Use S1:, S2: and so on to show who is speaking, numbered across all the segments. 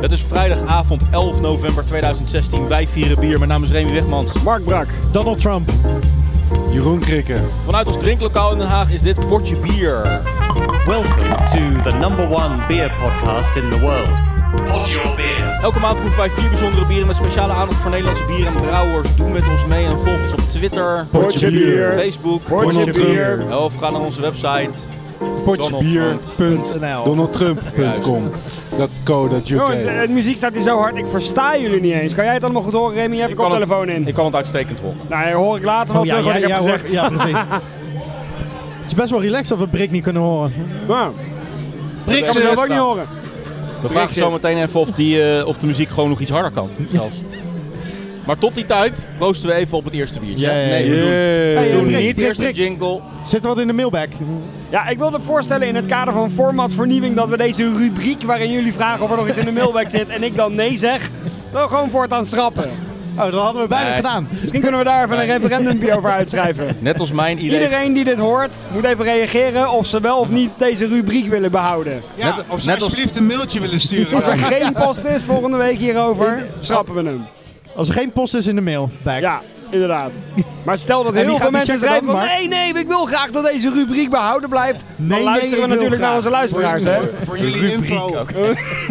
S1: Het is vrijdagavond 11 november 2016. Wij vieren bier. Mijn naam is Remy Wegmans.
S2: Mark Brak,
S3: Donald Trump.
S2: Jeroen Krikke.
S1: Vanuit ons drinklokaal in Den Haag is dit Portje Bier.
S4: Welcome to the number one beer podcast in the world. Pod your beer.
S1: Elke maand proeven wij vier bijzondere bieren met speciale aandacht voor Nederlandse bieren en brouwers. Doe met ons mee en volg ons op Twitter,
S2: Portje Bier.
S1: Facebook
S2: Portje
S3: Donald
S2: Bier.
S1: of ga naar onze website.
S2: Portjebier.donaldtrump.com. Dat code dat
S5: Jongens,
S6: eh,
S5: het muziek staat hier zo hard, ik versta jullie niet eens. Kan jij het allemaal goed horen, Remy? Je hebt
S1: Ik
S5: ik
S1: kan het-
S5: koptelefoon in.
S1: Ik kan het uitstekend horen.
S5: Nou, ja, hoor ik later wel terug wat ik heb gezegd.
S3: Oh, ja, precies. Het is best wel relaxed dat we Brik niet kunnen horen.
S5: Nou, ik
S1: Brix
S5: kan
S1: zit.
S5: mezelf ook niet horen.
S1: We vragen zo meteen even of, die, eh, of de muziek gewoon nog iets harder kan. Zelfs. maar tot die tijd proosten we even op het eerste biertje.
S3: Ja, ja, ja.
S1: Nee, we doen-
S3: Hey,
S1: we doen,
S3: Brik,
S1: niet
S3: Brik,
S1: eerst de
S3: Brik.
S1: jingle.
S3: Zit er wat in de mailbag? Oh,
S5: Ja, ik wilde voorstellen in het kader van formatvernieuwing dat we deze rubriek waarin jullie vragen of er nog iets in de mailbag zit en ik dan nee zeg, dan gewoon voortaan schrappen.
S3: Oh, dat hadden we bijna
S1: Nee.
S3: gedaan.
S5: Misschien kunnen we daar even een referendumpje over uitschrijven.
S1: Net als mijn idee.
S5: Iedereen die dit hoort, moet even reageren of ze wel of niet deze rubriek willen behouden.
S6: Ja,
S1: Net-
S6: of ze
S1: net als-
S6: alsjeblieft een mailtje willen sturen.
S5: Als er geen post is volgende week hierover, schrappen we hem.
S3: Als er geen post is in de mailbag.
S5: Oh. Ja, inderdaad. Maar stel
S3: En
S5: dat
S3: wie
S5: heel
S3: gaat
S5: veel
S3: die
S5: mensen
S3: checken
S5: schrijven
S3: dan,
S5: van...
S3: Mark?
S5: Nee, nee, ik wil graag dat deze rubriek behouden blijft.
S3: nee,
S5: dan luisteren
S3: ik
S5: we
S3: wil
S5: natuurlijk
S3: graag.
S5: naar onze luisteraars, hè?
S6: Voor, voor jullie info.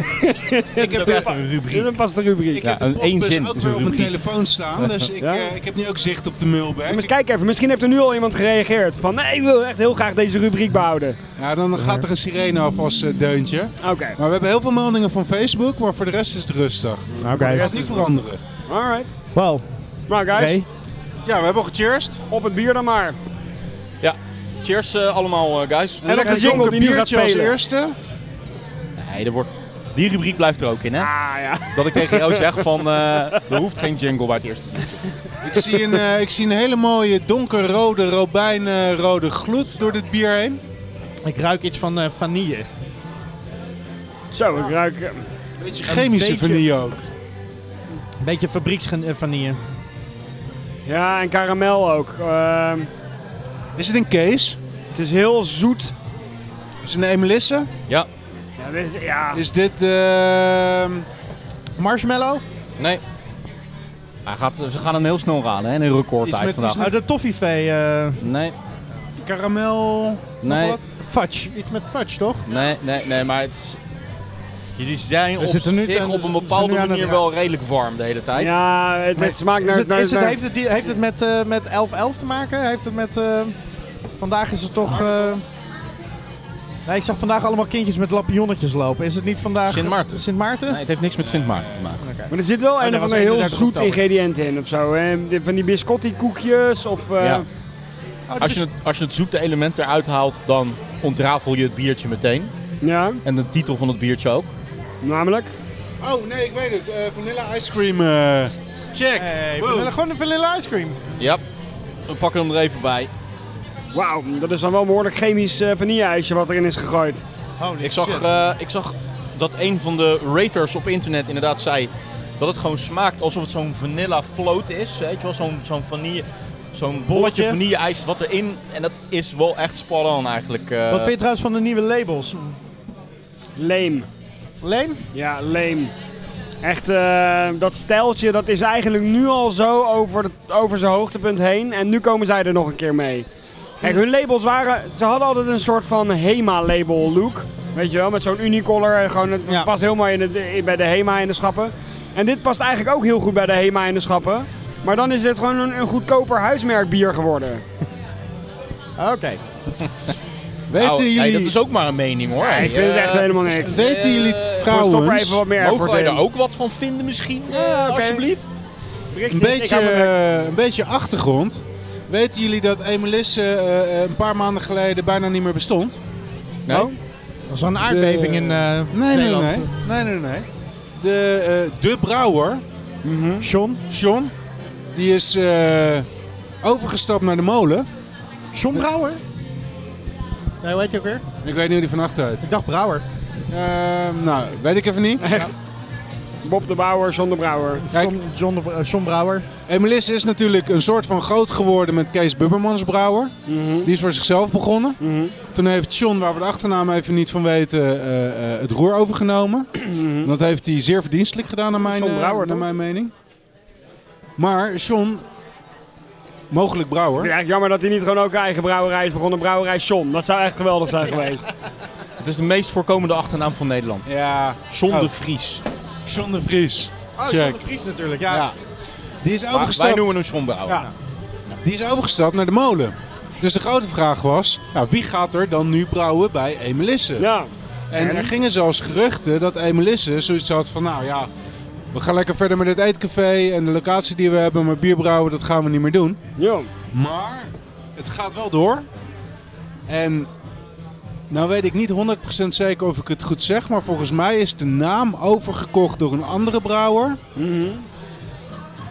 S6: ik heb de,
S1: een
S5: Dit
S1: rubriek.
S5: is pas de rubriek.
S6: ik
S1: Ja,
S6: heb de
S1: een
S6: postbus
S1: eenzin
S6: ook
S1: is
S6: weer
S1: een
S6: op mijn
S1: rubriek.
S6: telefoon staan, dus ik,
S5: Ja?
S6: eh, ik heb nu ook zicht op de mailbag.
S5: Maar kijk even, misschien heeft er nu al iemand gereageerd van... Nee, ik wil echt heel graag deze rubriek behouden.
S6: Ja, dan gaat er een sirene af als eh, deuntje.
S5: Oké,
S6: Maar we hebben heel veel meldingen van Facebook, maar voor de rest is het rustig.
S3: Oké.
S6: Het gaat niet veranderen.
S5: alright.
S3: Wow.
S5: Nou guys,
S3: Oké.
S6: Ja, we hebben al gecheerst.
S5: op het bier dan maar.
S1: Ja. Cheers eh, allemaal, eh, guys.
S6: Een lekker
S5: jingle
S6: donker
S5: die nu gaat
S6: biertje als
S5: spelen.
S6: eerste.
S1: Nee, er wordt... Die rubriek blijft er ook in, hè?
S5: Ah ja.
S1: Dat ik tegen jou zeg van, eh, er hoeft geen jingle bij het eerste.
S6: Ik zie, een, eh, ik zie een hele mooie donkerrode robijnrode gloed door dit bier heen.
S3: Ik ruik iets van eh, vanille.
S5: Zo, ik ruik... eh,
S6: Beetje chemische
S3: beetje-
S6: vanille ook.
S3: Een beetje eh, fabrieksvanille.
S5: Ja, en karamel ook. Ehm,
S6: Is het een Kees?
S5: het is heel zoet.
S6: Is het een Emelisse?
S5: Ja, dit is, ja.
S6: Is dit... ehm,
S3: Marshmallow?
S1: Nee. Hij gaat, ze gaan hem heel snel raden, hè? In een
S6: Iets
S1: recordtijd
S6: met-
S1: vandaag.
S6: iets
S3: Oh, de toffifee. eh
S1: Nee,
S6: Karamel.
S1: Nee.
S6: Nog wat?
S3: fudge. Iets met fudge, toch?
S1: nee, nee, nee, maar het... Jullie zijn op
S3: zitten nu
S1: zich
S3: aan- we
S1: op een
S3: zijn nu
S1: bepaalde
S3: aan het
S1: manier
S3: ra-
S1: wel redelijk warm de hele tijd.
S5: ja, het, het smaakt
S3: Is
S5: naar...
S3: het,
S5: naar-
S3: is het,
S5: naar-
S3: heeft, het, die- heeft het met, eh, met 11-11 te maken? Heeft het met... eh, vandaag is het toch... eh, nee, ik zag vandaag allemaal kindjes met lampionnetjes lopen. Is het niet vandaag...
S1: Sint Maarten.
S3: Sint Maarten?
S1: Nee, het heeft niks met Sint Maarten te maken.
S5: Maar er zit wel
S3: dat
S5: een
S3: was
S5: van de heel
S3: 31
S5: zoet
S3: oktober.
S5: ingrediënt in of zo. Hè? Die- Van die biscotti koekjes of... eh,
S1: Ja.
S3: Oh, dit
S1: Als
S3: is-
S1: je, het, als je het zoete element eruit haalt, dan ontrafel je het biertje meteen.
S5: ja,
S1: En de titel van het biertje ook.
S5: namelijk.
S6: Oh, nee, ik weet het. Eh, vanilla ice cream. eh, check.
S3: Hey,
S6: Wow.
S3: vanilla- gewoon een vanilla ice cream.
S1: Ja, we pakken hem er even bij.
S5: Wauw, dat is dan wel een behoorlijk chemisch eh vanille-ijsje wat erin is gegooid.
S1: Ik zag, eh, ik zag dat een van de raters op internet inderdaad zei dat het gewoon smaakt alsof het zo'n vanilla float is. Weet je wel, zo'n zo'n vanille... Zo'n bolletje
S3: Bolletje.
S1: vanille ijs wat erin. En dat is wel echt spot on eigenlijk. eh.
S3: Wat vind je trouwens van de nieuwe labels?
S5: Leem.
S3: Leen?
S5: Ja, leem. Echt, eh, dat stijltje dat is eigenlijk nu al zo over, het- over zijn hoogtepunt heen. En nu komen zij er nog een keer mee. Kijk, hun labels waren... Ze hadden altijd een soort van HEMA-label look. Weet je wel, met zo'n unicolor. en Gewoon, het
S3: Ja.
S5: past heel mooi in het- in- bij de HEMA in de schappen. En dit past eigenlijk ook heel goed bij de HEMA in de schappen. Maar dan is dit gewoon een, een goedkoper huismerk bier geworden.
S3: Oké.
S6: Weten
S1: Nou, hey,
S6: jullie,
S1: dat is ook maar een mening hoor.
S5: Ja,
S1: Hey,
S5: ik vind het
S1: eh,
S5: echt helemaal niks.
S6: weten
S1: eh,
S6: jullie
S1: gewoon
S5: Gewoon stop er
S6: trouwens...
S5: even wat meer
S1: Mogen
S5: effort
S1: wij
S5: in.
S1: er ook wat van vinden misschien? eh,
S6: Ja, oké.
S1: Alsjeblieft.
S5: Brixie,
S6: een,
S5: ik
S6: beetje,
S5: hou me weg.
S6: eh, een beetje achtergrond. Weten jullie dat Emelisse eh, eh, een paar maanden geleden bijna niet meer bestond?
S1: Nee?
S5: Oh.
S3: Dat is wel een aardbeving in eh
S6: Nee, nee,
S3: Zeeland.
S6: nee. Nee, nee, nee. De, eh, de brouwer,
S5: Mhm.
S3: John?
S6: John, die is eh, overgestapt naar de molen.
S3: John Brouwer? Nee, hoe heet hij ook weer?
S6: Ik weet niet hoe die van achteruit. Ehm,
S3: Ik dacht Brouwer.
S6: Eh, nou, weet ik even niet.
S5: Echt. Bob de Bouwer, John de Brouwer.
S6: Kijk.
S3: John, John, de- eh, John Brouwer.
S6: Emelis is natuurlijk een soort van groot geworden met Kees Bubbermans Brouwer. Die is voor zichzelf begonnen.
S5: Mhm.
S6: Toen heeft John, waar we de achternaam even niet van weten, eh, eh, het roer overgenomen. En dat heeft hij zeer verdienstelijk gedaan, naar mijn,
S5: John
S6: eh,
S5: Brouwer,
S6: naar
S5: toch?
S6: mijn mening. Maar John, mogelijk
S5: Ik
S6: Brouwer.
S5: vind het eigenlijk jammer dat hij niet gewoon ook een eigen brouwerij is begonnen. Brouwerij John. Dat zou echt geweldig zijn geweest.
S1: Het is de meest voorkomende achternaam van Nederland.
S6: Ja,
S1: John de
S6: Oh.
S1: Vries.
S6: John de Vries.
S3: Oh,
S6: Check.
S3: John de Vries natuurlijk. Ja.
S6: Ja. Die is
S1: Maar wij
S6: overgestapt.
S1: noemen hem John Brouwer.
S6: Ja. Die is overgestapt naar de molen. Dus de grote vraag was, nou, wie gaat er dan nu brouwen bij Emelisse?
S5: Ja.
S6: En er gingen zelfs geruchten dat Emelisse zoiets had van, nou ja, we gaan lekker verder met dit eetcafé en de locatie die we hebben, maar bierbrouwen, dat gaan we niet meer doen.
S5: Jong.
S6: Maar het gaat wel door. En nou weet ik niet 100% zeker of ik het goed zeg, maar volgens mij is de naam overgekocht door een andere brouwer
S5: Mhm.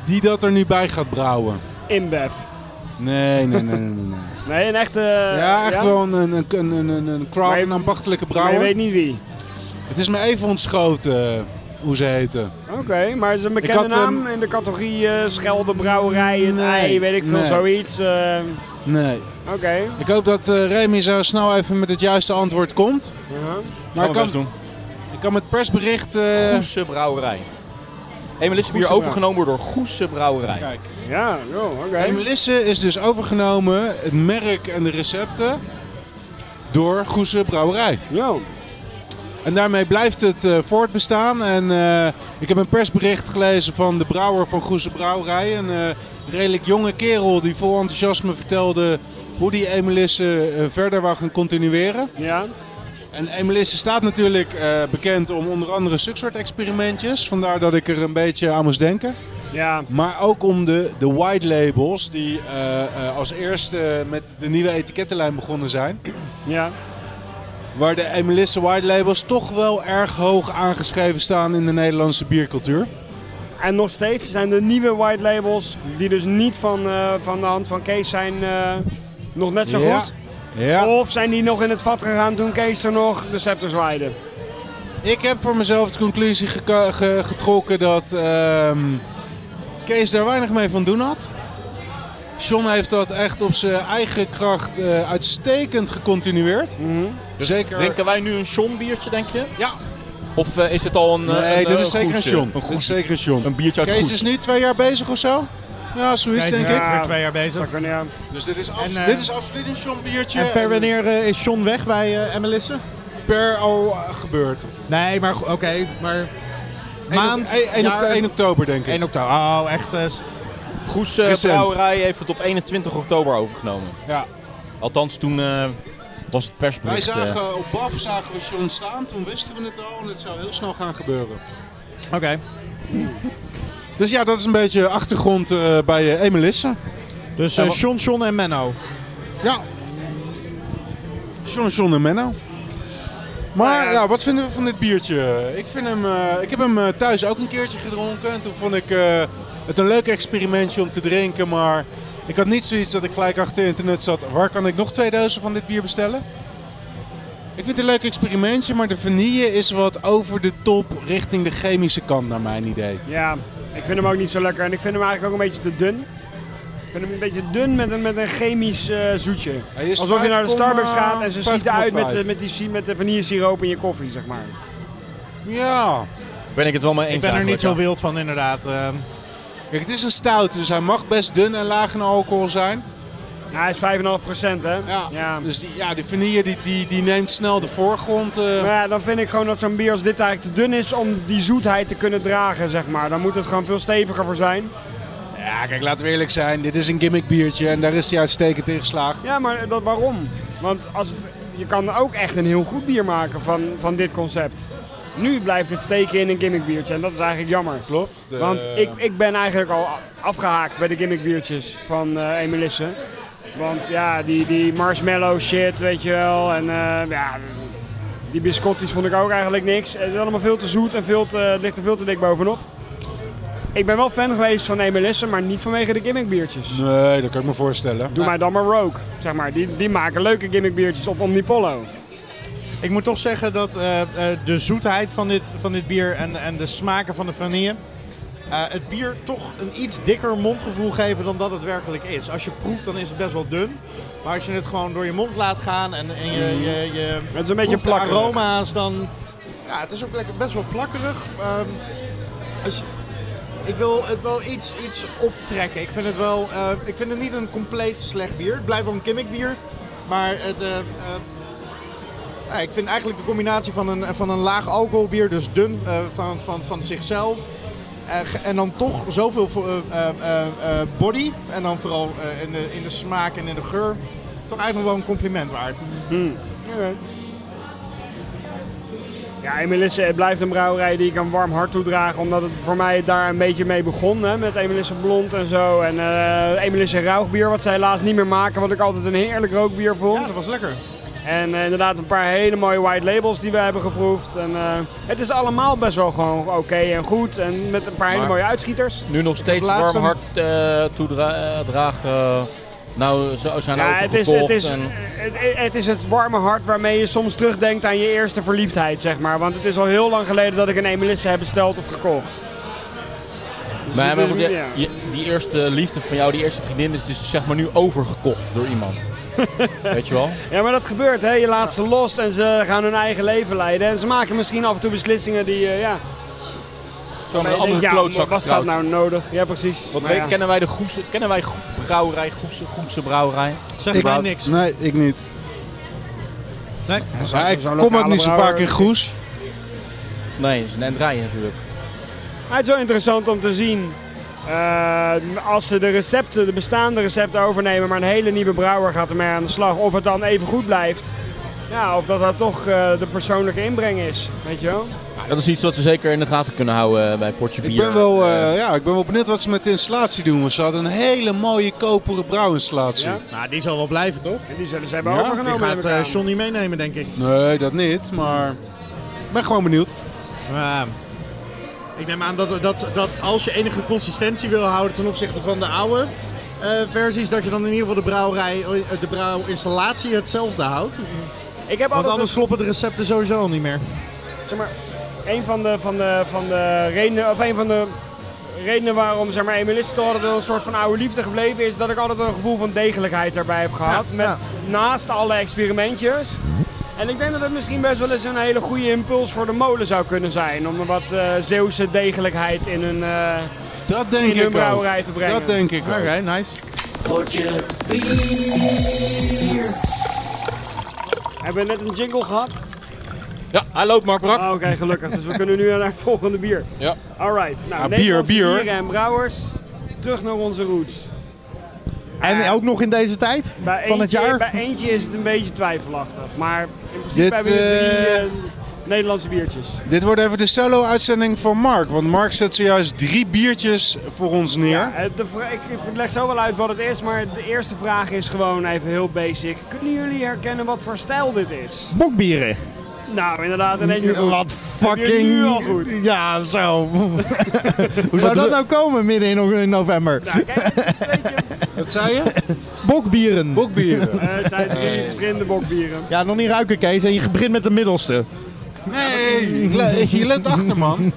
S6: die dat er nu bij gaat brouwen.
S5: Inbev.
S6: Nee, nee, nee, nee, nee. nee.
S5: Nee, een echte...
S6: Ja, echt wel een, een, een, een, een, een craft,
S5: Maar je-
S6: een ambachtelijke
S5: Maar
S6: brouwer.
S5: je weet niet wie.
S6: Het is me even ontschoten eh, hoe ze heten.
S5: Oké, maar het is een bekende
S6: had,
S5: naam
S6: ehm,
S5: in de categorie eh Schelde, Brouwerij, het
S6: Nee,
S5: ei, weet ik veel,
S6: nee.
S5: zoiets. eh,
S6: Nee.
S5: Oké.
S6: Ik hoop dat eh Remy zo snel even met het juiste antwoord komt.
S5: Ja.
S1: Maar
S6: Maar
S1: we
S6: ik kan,
S1: best doen.
S6: ik kan met persbericht... eh,
S1: Goese Brouwerij. Emelisse bier
S6: Goese
S1: overgenomen door Goese Brouwerij.
S6: Kijk,
S5: Ja, joh, oké.
S6: Emelisse is dus overgenomen, het merk en de recepten, door Goese Brouwerij.
S5: Joh.
S6: En daarmee blijft het eh, voortbestaan. En eh, ik heb een persbericht gelezen van de brouwer van Goeze Brouwerij. Een eh, redelijk jonge kerel die vol enthousiasme vertelde hoe die Emelisse eh, verder wou gaan continueren.
S5: Ja.
S6: En Emelisse staat natuurlijk eh, bekend om onder andere soort experimentjes. Vandaar dat ik er een beetje aan moest denken.
S5: Ja.
S6: Maar ook om de, de white labels die eh, eh, als eerste met de nieuwe etikettenlijn begonnen zijn.
S5: Ja.
S6: Waar de Emelisse White Labels toch wel erg hoog aangeschreven staan in de Nederlandse biercultuur.
S5: En nog steeds zijn de nieuwe white labels, die dus niet van, eh, van de hand van Kees zijn, eh, nog net zo
S6: Ja.
S5: goed.
S6: Ja.
S5: Of zijn die nog in het vat gegaan toen Kees er nog de scepter zwaaide?
S6: Ik heb voor mezelf de conclusie geka- ge- getrokken dat ehm, Kees daar weinig mee van doen had. John heeft dat echt op zijn eigen kracht eh, uitstekend gecontinueerd.
S1: Dus
S6: Zeker.
S1: Drinken wij nu een John biertje, denk je?
S6: Ja.
S1: Of eh, is het al een. eh,
S6: Nee,
S1: een,
S6: dit
S1: eh,
S6: is zeker een
S1: Goese?
S6: John.
S1: Een,
S6: Dit is
S1: Goese.
S6: zeker een John.
S1: een biertje uit
S6: Kees
S1: Goes.
S6: is nu twee jaar bezig of zo? Ja, zoiets denk
S3: ja.
S6: ik.
S3: weer twee jaar bezig.
S5: Kan ja.
S6: Dus dit is, abso-
S3: eh,
S6: dit is absoluut een John biertje.
S3: En per wanneer eh, is John weg bij eh Emelisse?
S6: Per al eh, gebeurd.
S3: Nee, maar go- oké. maar maand,
S6: Maand, 1,
S3: jaar,
S6: 1 oktober denk ik.
S3: 1 oktober. Oh, echt. eh, s-
S1: Goese
S6: Recent.
S1: Brouwerij heeft het op 21 oktober overgenomen.
S6: Ja.
S1: Althans, toen eh, was het
S6: Wij
S1: persbericht. eh,
S6: zagen op BAF zagen we John staan, toen wisten we het al en het zou heel snel gaan gebeuren.
S3: Oké.
S6: Dus ja, dat is een beetje achtergrond eh, bij eh, Emelisse.
S3: Dus eh,
S1: Ja, wa-
S3: John, John en Menno.
S6: Ja. John, John en Menno. Maar
S5: Nou ja.
S6: ja, wat vinden we van dit biertje? Ik, vind hem, eh, ik heb hem eh, thuis ook een keertje gedronken en toen vond ik eh, het een leuk experimentje om te drinken, maar ik had niet zoiets dat ik gelijk achter internet zat, waar kan ik nog twee dozen van dit bier bestellen? Ik vind het een leuk experimentje, maar de vanille is wat over de top richting de chemische kant naar mijn idee.
S5: Ja, ik vind hem ook niet zo lekker. En ik vind hem eigenlijk ook een beetje te dun. Ik vind hem een beetje dun met een, met een chemisch eh, zoetje.
S6: Hij is
S5: Alsof je naar de
S6: 5,5
S5: Starbucks gaat en ze ziet eruit met,
S6: 5,5.
S5: de- met, die, si- met de vanillesiroop in je koffie, zeg maar.
S6: Ja,
S1: eh, ben ik het wel mee eens.
S3: Ik ben er niet
S1: eigenlijk,
S3: zo
S1: ja.
S3: wild van, inderdaad. ehm.
S6: kijk, het is een stout, dus hij mag best dun en laag in alcohol zijn.
S5: Ja, hij is 5,5 hè?
S6: Ja,
S5: ja.
S6: dus die, ja, die vanille die, die, die neemt snel de voorgrond. eh.
S5: Maar Nou ja, dan vind ik gewoon dat zo'n bier als dit eigenlijk te dun is om die zoetheid te kunnen dragen, zeg maar. Dan moet het gewoon veel steviger voor zijn.
S6: Ja, kijk, laten we eerlijk zijn. Dit is een gimmick biertje en daar is hij uitstekend in geslaagd.
S5: Ja, maar dat, waarom? Want als het- je kan ook echt een heel goed bier maken van, van dit concept. Nu blijft het steken in een gimmickbiertje en dat is eigenlijk jammer.
S6: Klopt. de-
S5: Want ik, ik ben eigenlijk al afgehaakt bij de gimmickbiertjes van eh Emelisse. Want ja, die, die marshmallow shit, weet je wel. En eh, ja, die biscotties vond ik ook eigenlijk niks. Het is allemaal veel te zoet en veel te, het ligt er veel te dik bovenop. Ik ben wel fan geweest van Emelisse, maar niet vanwege de gimmickbiertjes.
S6: Nee, dat kan ik me voorstellen.
S7: Nou.
S5: Doe mij dan maar Rogue, zeg maar. Die, die maken leuke gimmickbiertjes of Omnipollo.
S7: Ik moet toch zeggen dat eh, eh, de zoetheid van dit, van dit bier en, en de smaken van de vanille... eh, het bier toch een iets dikker mondgevoel geven dan dat het werkelijk is. Als je proeft, dan is het best wel dun. Maar als je het gewoon door je mond laat gaan en, en je, je, je
S5: Het is een beetje
S7: proeft de
S5: plakkerig.
S7: aroma's, dan... Ja, het is ook lekker- best wel plakkerig. Ehm, dus ik wil het wel iets, iets optrekken. Ik vind het wel... eh, ik vind het niet een compleet slecht bier. Het blijft wel een gimmick bier. Maar het... eh, eh, ja, ik vind eigenlijk de combinatie van een, van een laag alcoholbier, dus dun eh, van, van, van zichzelf. eh, ge- en dan toch zoveel vo- eh, eh, eh, eh, body. En dan vooral eh, in, de, in de smaak en in de geur. Toch eigenlijk nog wel een compliment waard.
S5: Ja, Emelisse het blijft een brouwerij die ik een warm hart toedraag. Omdat het voor mij daar een beetje mee begon. Hè, met Emelisse Blond en zo. En eh Emelisse Rauwbier, wat ze helaas niet meer maken. Wat ik altijd een heerlijk rookbier vond.
S7: Ja, dat was lekker.
S5: En eh, inderdaad een paar hele mooie white labels die we hebben geproefd. En, eh, het is allemaal best wel gewoon oké en goed. En met een paar hele
S1: Maar-
S5: mooie uitschieters.
S1: Nu nog steeds
S7: laatste-
S1: warm hart eh, toedragen. nou, zo zijn
S5: Ja, het is,
S1: overgekocht.
S5: het, is,
S1: en-
S5: het, het is het warme hart waarmee je soms terugdenkt aan je eerste verliefdheid, zeg maar. Want het is al heel lang geleden dat ik een Emelisse heb besteld of gekocht. Dus
S1: Maar,
S5: het
S1: maar
S5: is-
S1: goed,
S5: ja.
S1: je- je- die eerste liefde van jou, die eerste vriendin, is dus zeg maar nu overgekocht door iemand. Weet je wel?
S5: Ja, maar dat gebeurt, hè. Je laat ze los en ze gaan hun eigen leven leiden. En ze maken misschien af en toe beslissingen die, eh, ja...
S1: Zo met een
S5: je
S1: andere
S5: denkt, ja,
S1: klootzak
S5: was dat
S1: getrouwd.
S5: nou nodig? Ja, precies.
S1: Want
S5: Maar
S1: wij-
S5: ja.
S1: kennen wij de Goese, kennen wij Go- brouwerij, Goese, Goese brouwerij?
S7: Zeg
S8: Ik-
S7: mij niks.
S8: Nee, ik niet.
S7: Nee?
S8: Ja, ik
S5: zo'n
S8: kom ook
S5: lokale
S8: niet zo
S5: brouwer.
S8: vaak in Goes.
S1: Nee, het is een Endrij natuurlijk.
S5: Maar het is wel interessant om te zien. eh, als ze de recepten, de bestaande recepten overnemen, maar een hele nieuwe brouwer gaat ermee aan de slag. Of het dan even goed blijft. Ja, of dat dat toch eh, de persoonlijke inbreng is. Weet je wel?
S1: Dat is iets wat we zeker in de gaten kunnen houden eh, bij Portje Bier.
S6: Ik ben, wel,
S1: Eh,
S6: eh, ja, ik ben wel benieuwd wat ze met de installatie doen. Want ze hadden een hele mooie koperen brouwinstallatie.
S5: Ja.
S7: Nou, die zal wel blijven, toch?
S5: En die zullen ze hebben
S6: Ja,
S5: overgenomen.
S7: Die gaat
S5: neem ik
S7: eh
S5: aan.
S7: Johnny meenemen, denk ik.
S6: Nee, dat niet. Maar ik ben gewoon benieuwd.
S7: Ja. Ehm, ik neem aan dat, dat, dat als je enige consistentie wil houden ten opzichte van de oude eh, versies, dat je dan in ieder geval de brouwerij, eh, de brouwinstallatie hetzelfde houdt.
S5: ik heb
S7: Want
S5: altijd
S7: anders kloppen de recepten sowieso al niet meer.
S5: zeg maar, een van de, van de, van de redenen, of een van de redenen waarom zeg maar, Emilist toch altijd wel een soort van oude liefde gebleven is, dat ik altijd wel een gevoel van degelijkheid daarbij heb gehad.
S7: Ja,
S5: met,
S7: ja.
S5: Naast alle experimentjes. En ik denk dat het misschien best wel eens een hele goede impuls voor de molen zou kunnen zijn. Om er wat eh, Zeeuwse degelijkheid in hun, eh,
S6: Dat denk
S5: in hun
S6: ik ook.
S5: brouwerij te brengen.
S6: Dat denk ik
S7: Oké,
S6: ook.
S7: nice.
S5: Hebben we net een jingle gehad?
S1: Ja, hij loopt Mark Brak.
S5: Ah, Oké, gelukkig. Dus we kunnen nu naar het volgende bier.
S1: Ja.
S5: Alright. Nou,
S6: Ja, bier,
S5: Nederlandse
S6: bier.
S5: bieren en brouwers. Terug naar onze roots.
S7: En ook nog in deze tijd
S5: Bij
S7: van het
S5: eentje-
S7: jaar.
S5: Bij eentje is het een beetje twijfelachtig. Maar in principe
S6: Dit,
S5: hebben we drie
S6: eh,
S5: eh, Nederlandse biertjes.
S6: Dit wordt even de solo-uitzending van Mark. Want Mark zet zojuist drie biertjes voor ons neer.
S5: Ja, eh, de vra- ik, ik leg zo wel uit wat het is, maar de eerste vraag is gewoon even heel basic. Kunnen jullie herkennen wat voor stijl dit is?
S7: Bokbieren.
S5: Nou, inderdaad, in één keer goed.
S7: Wat
S5: Heb je
S7: fucking...
S5: nu al goed?
S7: Ja, zo. Hoe zou dat nou komen midden in, in november?
S5: Nou, kijk, weet je,
S6: Wat zei je?
S7: Bokbieren.
S6: Bokbieren.
S5: eh, het zijn drie verschillende bokbieren.
S7: ja, nog niet ruiken, Kees. En je begint met de middelste.
S6: Nee, ik le- je let achter, man.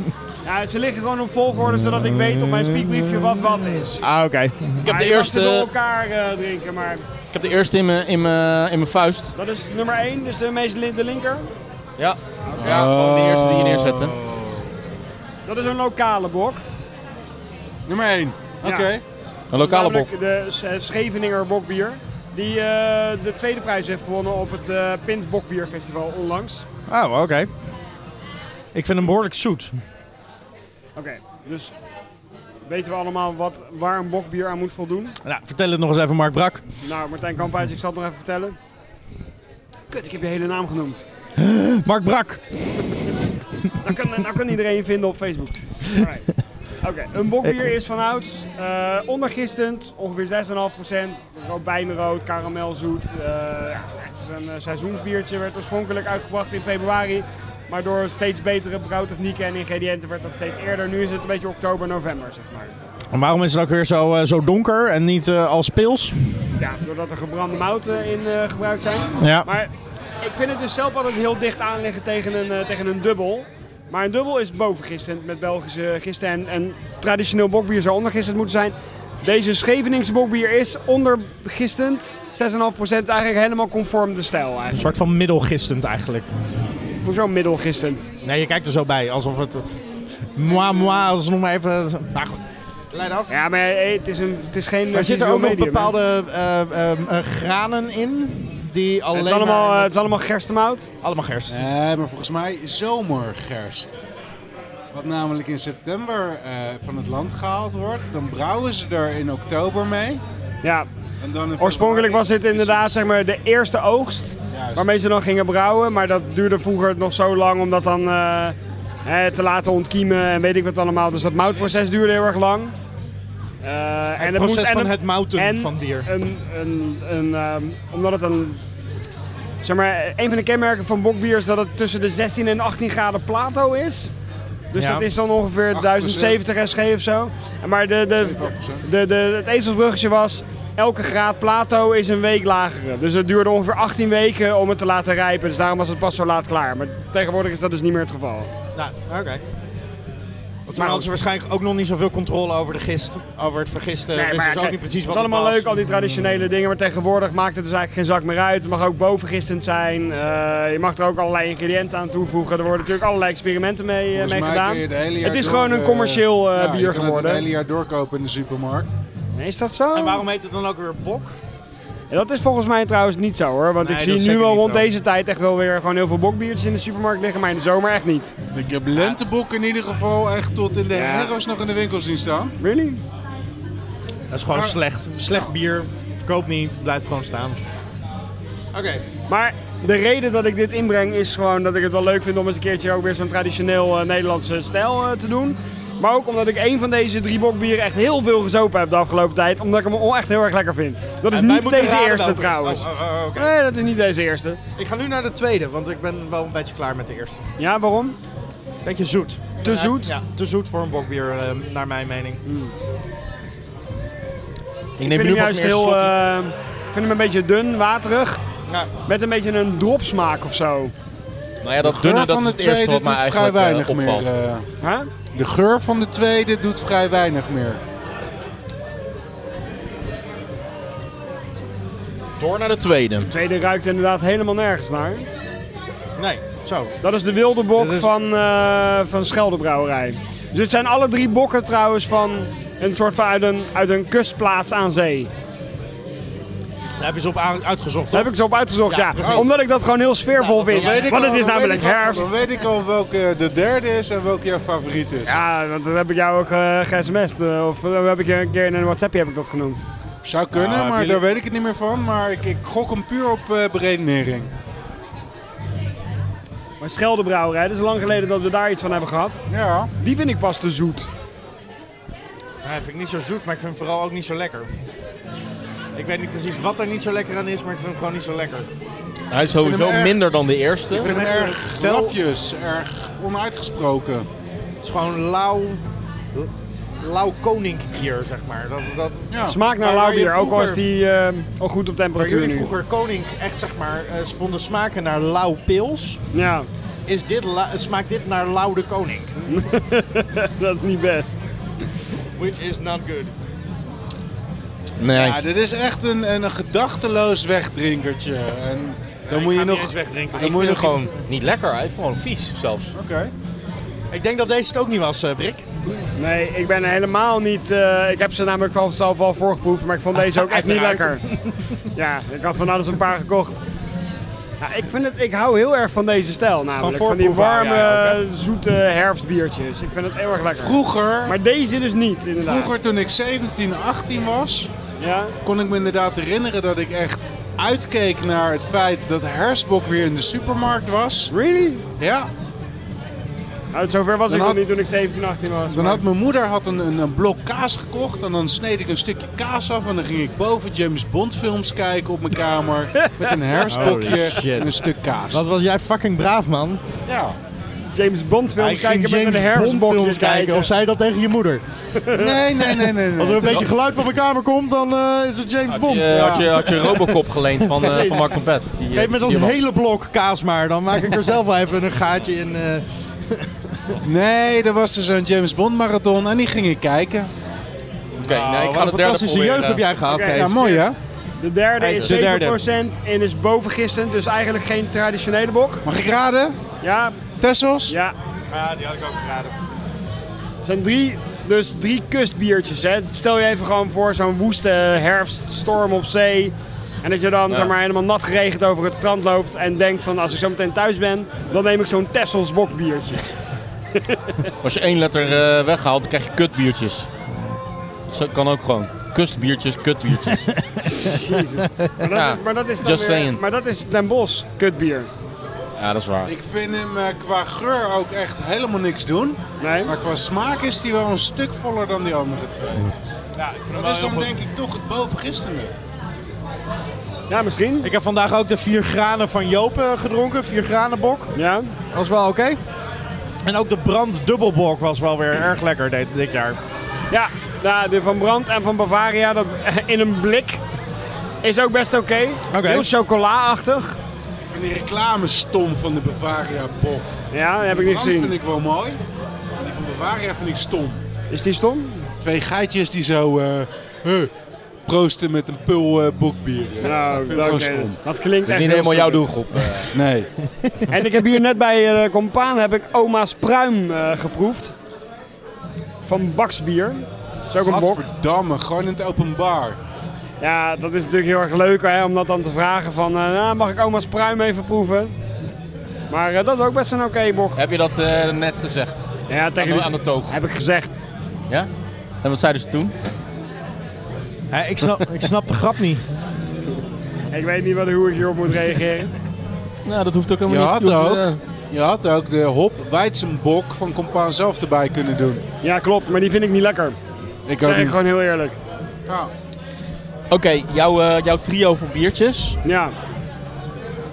S5: Ja, ze liggen gewoon op volgorde, zodat ik weet op mijn speakbriefje wat wat is.
S7: Ah, oké.
S1: Ik heb,
S5: Maar
S1: de
S5: je mag ze door
S1: eerste,
S5: elkaar eh, drinken, maar
S1: ik heb de eerste in mijn- in mijn in mijn vuist.
S5: dat is nummer één, dus de meest lin- de linker.
S1: Ja, ja
S6: Oh.
S1: gewoon de eerste die je neerzette.
S5: Dat is een lokale bok.
S6: Nummer 1. Oké.
S5: Ja.
S1: Een lokale bok.
S5: Namelijk De S- eh, Scheveninger bokbier. Die eh, de tweede prijs heeft gewonnen op het eh Pint Bokbier Festival onlangs.
S7: Oh, oké. Ik vind hem behoorlijk zoet.
S5: Oké, dus weten we allemaal wat, waar een bokbier aan moet voldoen?
S7: Nou, vertel het nog eens even, Mark Brak.
S5: Nou, Martijn Kamphuis, ik zal het nog even vertellen. Kut, ik heb je hele naam genoemd.
S7: Mark Brak.
S5: Nou kan, nou kan iedereen je vinden op Facebook. Alright. Oké, een bokbier is van ouds eh, ondergistend, ongeveer 6,5%. Rood, Bijnrood, karamelzoet. eh, ja, het is een eh, seizoensbiertje, werd oorspronkelijk uitgebracht in februari. Maar door steeds betere brouwtechnieken en ingrediënten werd dat steeds eerder. Nu is het een beetje oktober, november, zeg maar.
S7: En waarom is het ook weer zo, eh, zo donker en niet eh als pils?
S5: Ja, doordat er gebrande mouten in eh, gebruikt zijn.
S7: Ja.
S5: Maar ik vind het dus zelf altijd heel dicht aanleggen tegen een, eh, tegen een dubbel. Maar een dubbel is boven gisteren met Belgische gisteren en, en traditioneel bokbier zou onder gisteren moeten zijn. Deze Scheveningse bokbier is onder gisteren 6,5% eigenlijk helemaal conform de stijl
S7: Een
S5: eigenlijk.
S7: soort van middelgistend eigenlijk.
S5: Hoezo middel gisteren?
S7: Nee, je kijkt er zo bij, alsof het... eh, Moi, moi, als nog maar even... Maar goed, leid af.
S5: Ja, maar eh, het is, een, het is geen
S7: Maar zitten er ook nog
S5: medium, hè?
S7: bepaalde eh, ehm, eh, granen in? Die alleen
S5: Het is allemaal,
S7: maar-
S5: eh, het is allemaal gerstemout.
S7: allemaal gerst.
S6: Nee, Eh, maar volgens mij zomergerst. Wat namelijk in september eh, van het land gehaald wordt. Dan brouwen ze er in oktober mee.
S5: Ja,
S6: En dan in
S5: Oorspronkelijk was dit
S6: februari-
S5: inderdaad zeg maar, de eerste oogst
S6: Juist.
S5: waarmee ze dan gingen brouwen. Maar dat duurde vroeger nog zo lang om dat dan eh, hè, te laten ontkiemen en weet ik wat allemaal. Dus dat moutproces duurde heel erg lang. Eh, en
S7: het proces
S5: moest- en
S7: van
S5: het-
S7: het mouten
S5: en
S7: van bier.
S5: Een, een, een, ehm, omdat het een... Zeg maar, een van de kenmerken van bokbier is dat het tussen de 16 en 18 graden plato is. Dus
S7: Ja.
S5: dat is dan ongeveer
S6: 8%.
S5: 1070 SG of zo. Maar de, de,
S6: 7%.
S5: de, de, het ezelsbruggetje was, elke graad plato is een week lagere. Dus het duurde ongeveer 18 weken om het te laten rijpen. Dus daarom was het pas zo laat klaar. Maar tegenwoordig is dat dus niet meer het geval.
S7: Nou, oké. Want toen
S5: Maar
S7: hadden ze waarschijnlijk ook nog niet zoveel controle over de gist, over het vergisten.
S5: Nee,
S7: dus
S5: maar
S7: is ook
S5: kijk,
S7: niet precies
S5: het
S7: wat
S5: is allemaal
S7: was.
S5: leuk, al die traditionele dingen. Maar tegenwoordig maakt het dus eigenlijk geen zak meer uit. Het mag ook bovengistend zijn. Eh, je mag er ook allerlei ingrediënten aan toevoegen. Er worden natuurlijk allerlei experimenten mee, eh,
S6: Volgens
S5: mee
S6: mij
S5: gedaan.
S6: kun je de hele jaar
S5: Het is
S6: door,
S5: gewoon een
S6: eh,
S5: commercieel eh,
S6: ja, je
S5: bier
S6: kan het het
S5: geworden.
S6: hele jaar doorkopen in de supermarkt.
S5: Nee, is dat zo?
S7: En waarom heet het dan ook weer bok?
S5: Ja, Dat is volgens mij trouwens niet zo hoor. Want
S7: Nee,
S5: ik
S7: dat is
S5: zie nu
S7: zeker
S5: wel
S7: niet
S5: rond
S7: zo.
S5: deze tijd echt wel weer gewoon heel veel bokbiertjes in de supermarkt liggen. Maar in de zomer echt niet.
S6: Ik heb lentebok in ieder geval echt tot in de herfst nog in de winkel zien staan.
S5: Really?
S7: Dat is gewoon slecht. Slecht bier. Verkoopt niet. Blijft gewoon staan.
S6: Oké.
S5: Maar de reden dat ik dit inbreng is gewoon dat ik het wel leuk vind om eens een keertje ook weer zo'n traditioneel eh, Nederlandse stijl eh, te doen. Maar ook omdat ik één van deze drie bokbieren echt heel veel gezopen heb de afgelopen tijd. Omdat ik hem al echt heel erg lekker vind. Dat is
S7: En wij
S5: niet
S7: moeten
S5: deze
S7: raden
S5: eerste
S7: welke.
S5: trouwens.
S7: Oh, oh, oh, oké.
S5: Nee, dat is niet deze eerste.
S7: Ik ga nu naar de tweede, want ik ben wel een beetje klaar met de eerste.
S5: Ja, waarom?
S7: Beetje zoet.
S5: Te
S7: Ja,
S5: zoet?
S7: Ja, te zoet voor een bokbier, eh, naar mijn mening.
S1: Ik
S5: Ik
S1: neem
S5: vind
S1: nu
S5: hem
S1: pas
S5: juist
S1: meer een
S5: heel...
S1: slokje.
S5: eh, ik vind hem een beetje dun, waterig.
S7: Nou,
S5: Met een beetje een dropsmaak of zo.
S1: Nou ja, dat
S6: De
S1: dunne
S6: geur
S1: dat
S6: van
S1: is
S6: de
S1: het eerste
S6: tweede
S1: wat
S6: doet
S1: mij
S6: vrij
S1: eigenlijk eh,
S6: weinig
S1: opvalt.
S6: meer. eh.
S5: Huh?
S6: de geur van de tweede doet vrij weinig meer.
S1: Door naar de tweede.
S5: Tweede ruikt inderdaad helemaal nergens naar.
S7: nee, zo.
S5: Dat is de wilde bok
S7: Dit is-
S5: van, eh van Scheldebrouwerij. Dus het zijn alle drie bokken trouwens van een soort van uit een, uit een kustplaats aan zee.
S7: Daar heb je ze op aan- uitgezocht,
S5: Daar heb ik zo op uitgezocht,
S7: Ja,
S5: ja.
S7: precies.
S5: Omdat ik dat gewoon heel sfeervol
S7: Ja, dat
S5: vind.
S7: weet ik
S5: Want het
S6: al,
S5: is
S6: dan
S5: namelijk
S6: weet ik al-
S5: herfst.
S6: Dan weet ik al welke de derde is en welke jouw favoriet is.
S5: Ja, want dat heb ik jou ook eh ge-sms'd. eh, of eh, heb ik je een keer in een WhatsAppje heb ik dat genoemd.
S6: Zou kunnen,
S7: Nou,
S6: maar
S7: jullie-
S6: daar weet ik het niet meer van. Maar ik, ik gok hem puur op eh beredenering.
S5: Maar Scheldebrouwerij, dat is lang geleden dat we daar iets van hebben gehad.
S6: Ja.
S5: Die vind ik pas te zoet.
S7: Hij vind ik niet zo zoet, maar ik vind hem vooral ook niet zo lekker. Ik weet niet precies wat er niet zo lekker aan is, maar ik vind hem gewoon niet zo lekker.
S1: Hij is sowieso
S6: hem erg.
S1: minder dan de eerste.
S6: Ik vind hem
S7: echt
S6: erg
S5: eh,
S7: wel-
S6: lafjes, erg onuitgesproken.
S7: Het is gewoon lauw, lauw koninkbier, zeg maar. Dat, dat,
S6: Ja.
S5: Smaakt naar
S7: Maar waar
S5: lauw
S7: je
S5: bier, ook al is
S7: vroeger-
S5: die eh, al goed op
S7: waar
S5: temperatuur
S7: jullie
S5: nu.
S7: vroeger konink echt, zeg maar, eh, ze vonden smaken naar lauw pils,
S5: Ja,
S7: is dit la- smaakt dit naar lauw de koning.
S5: dat is niet best.
S7: Which is not good.
S1: Nee.
S6: Ja, dit is echt een, een, een gedachteloos wegdrinkertje. En dan moet je nog...
S7: wegdrinken.
S1: Ik
S6: moet je
S1: vind hem
S6: nog
S1: gewoon niet lekker. Hij is gewoon vies zelfs.
S6: Oké.
S7: Ik denk dat deze het ook niet was, eh, Brik.
S5: Nee, ik ben helemaal niet. eh, ik heb ze namelijk wel zelf al voorgeproefd, maar ik vond deze ook echt niet lekker.
S7: Uiteraard.
S5: Ja, ik had van alles een paar gekocht. Ja, ik, vind het, ik hou heel erg van deze stijl namelijk. Van, die
S7: voorproeven hou
S5: warme,
S7: jij
S5: zoete herfstbiertjes. Ik vind het heel erg lekker.
S6: Vroeger,
S5: Maar deze dus niet, inderdaad.
S6: vroeger toen ik 17, 18 was...
S5: Ja?
S6: kon ik me inderdaad herinneren dat ik echt uitkeek naar het feit dat herfstbok weer in de supermarkt was.
S5: Really?
S6: Ja,
S5: Nou, zover was
S6: Dan
S5: ik nog
S6: had-
S5: niet toen ik 17, 18 was.
S6: dan
S5: maar-
S6: had mijn moeder had een, een, een blok kaas gekocht en dan sneed ik een stukje kaas af en dan ging ik boven James Bond films kijken op mijn kamer met een herfstbokje
S1: Holy shit.
S6: en een stuk kaas.
S7: was jij fucking braaf, man.
S6: Ja.
S5: James Bond films kijken met een herfstbokje
S3: herfstbokjes
S5: kijken.
S3: Of zei dat tegen je moeder?
S6: Nee, nee, nee, nee.
S3: Als er
S6: nee.
S3: een beetje geluid van mijn kamer komt, dan eh, is het James
S1: Had
S3: Bond.
S1: je, had, je, had je Robocop geleend van, eh, van Mark van Pet? Die, eh,
S3: Geef me dat
S1: die man.
S3: hele blok kaas maar, dan maak ik er zelf wel even een gaatje in. eh.
S6: Nee, er was dus een James Bond marathon en die ging ik kijken.
S1: Oké,
S6: Nou,
S1: nee, ik
S3: wat
S1: ga
S3: een
S1: de derde eh,
S3: fantastische
S1: proberen.
S3: jeugd heb jij gehad,
S5: Oké,
S3: Kees.
S6: Ja, mooi hè?
S5: De derde
S3: Hij
S5: is
S3: is
S5: 7%
S3: de derde.
S5: en is bovengistend, dus eigenlijk geen traditionele bok.
S6: Mag ik raden?
S5: Ja,
S6: Tessels?
S5: ja.
S3: Ja, die had ik ook geraden.
S5: Het zijn drie, dus drie kustbiertjes. Hè. Stel je even gewoon voor zo'n woeste herfststorm op zee. En dat je dan zeg maar, helemaal nat geregend over het strand loopt en denkt van als ik zo meteen thuis ben, dan neem ik zo'n Tessels bokbiertje.
S1: Als je één letter eh, weghaalt, dan krijg je kutbiertjes. Dat kan ook gewoon. Kustbiertjes, kutbiertjes.
S5: Maar dat,
S1: Ja,
S5: is, maar dat is dan
S1: just
S5: weer-
S1: saying.
S5: Maar dat is Den Bosch, kutbier.
S1: ja, dat is waar.
S6: Ik vind hem eh, qua geur ook echt helemaal niks doen.
S5: Nee?
S6: Maar qua smaak is die wel een stuk voller dan die andere twee. dat is dan denk ik toch het bovengistende.
S5: Ja, misschien.
S3: Ik heb vandaag ook de vier granen van Joop eh, gedronken, vier granen bok.
S5: Ja.
S3: Dat was wel oké. En ook de branddubbelbok was wel weer erg lekker dit, dit jaar.
S5: Ja, nou, de Van Brand en van Bavaria dat, in een blik is ook best oké.
S3: Oké.
S5: Heel chocola-achtig.
S6: Ik vind die reclame stom van de Bavaria Bok.
S5: Ja, dat heb ik niet
S6: Dat vind
S5: gezien.
S6: ik wel mooi. Maar die van Bavaria vind ik stom.
S5: Is die stom?
S6: Twee geitjes die zo eh, huh, proosten met een pul eh, bokbier.
S5: Nou,
S6: ik vind het
S5: oké.
S6: gewoon stom.
S5: dat klinkt
S1: Dat
S5: echt
S1: is niet
S5: heel
S1: helemaal jouw
S5: stom.
S1: doelgroep. eh.
S6: Nee.
S5: En ik heb hier net bij eh, de compaan heb ik oma's pruim eh, geproefd. Van Baksbier. Dat is ook een bok.
S6: Godverdamme, gewoon in het openbaar.
S5: Ja, dat is natuurlijk heel erg leuk hè, om dat dan te vragen van, eh, nou, mag ik oma's pruim even proeven? Maar eh, dat is ook best een oké bok.
S1: heb je dat eh, net gezegd?
S5: Ja, tegen
S1: Aan de-
S5: die-
S1: aan de toog.
S5: Heb ik gezegd.
S1: Ja? En wat zeiden ze toen?
S3: Hè, ik, snap, ik snap de grap niet.
S5: Ik weet niet wat, hoe ik hierop moet reageren.
S1: Nou, dat hoeft ook
S6: Je
S1: helemaal
S6: had
S1: niet.
S6: ook, je had ook de hop Weizenbok van Compaan zelf erbij kunnen doen.
S5: Ja, klopt, maar die vind ik niet lekker.
S1: eh,
S6: Ik
S5: Dat zeg
S6: ook
S5: ik
S6: niet.
S5: gewoon heel eerlijk.
S6: Nou,
S1: Oké, jouw, eh, jouw trio van biertjes.
S5: Ja,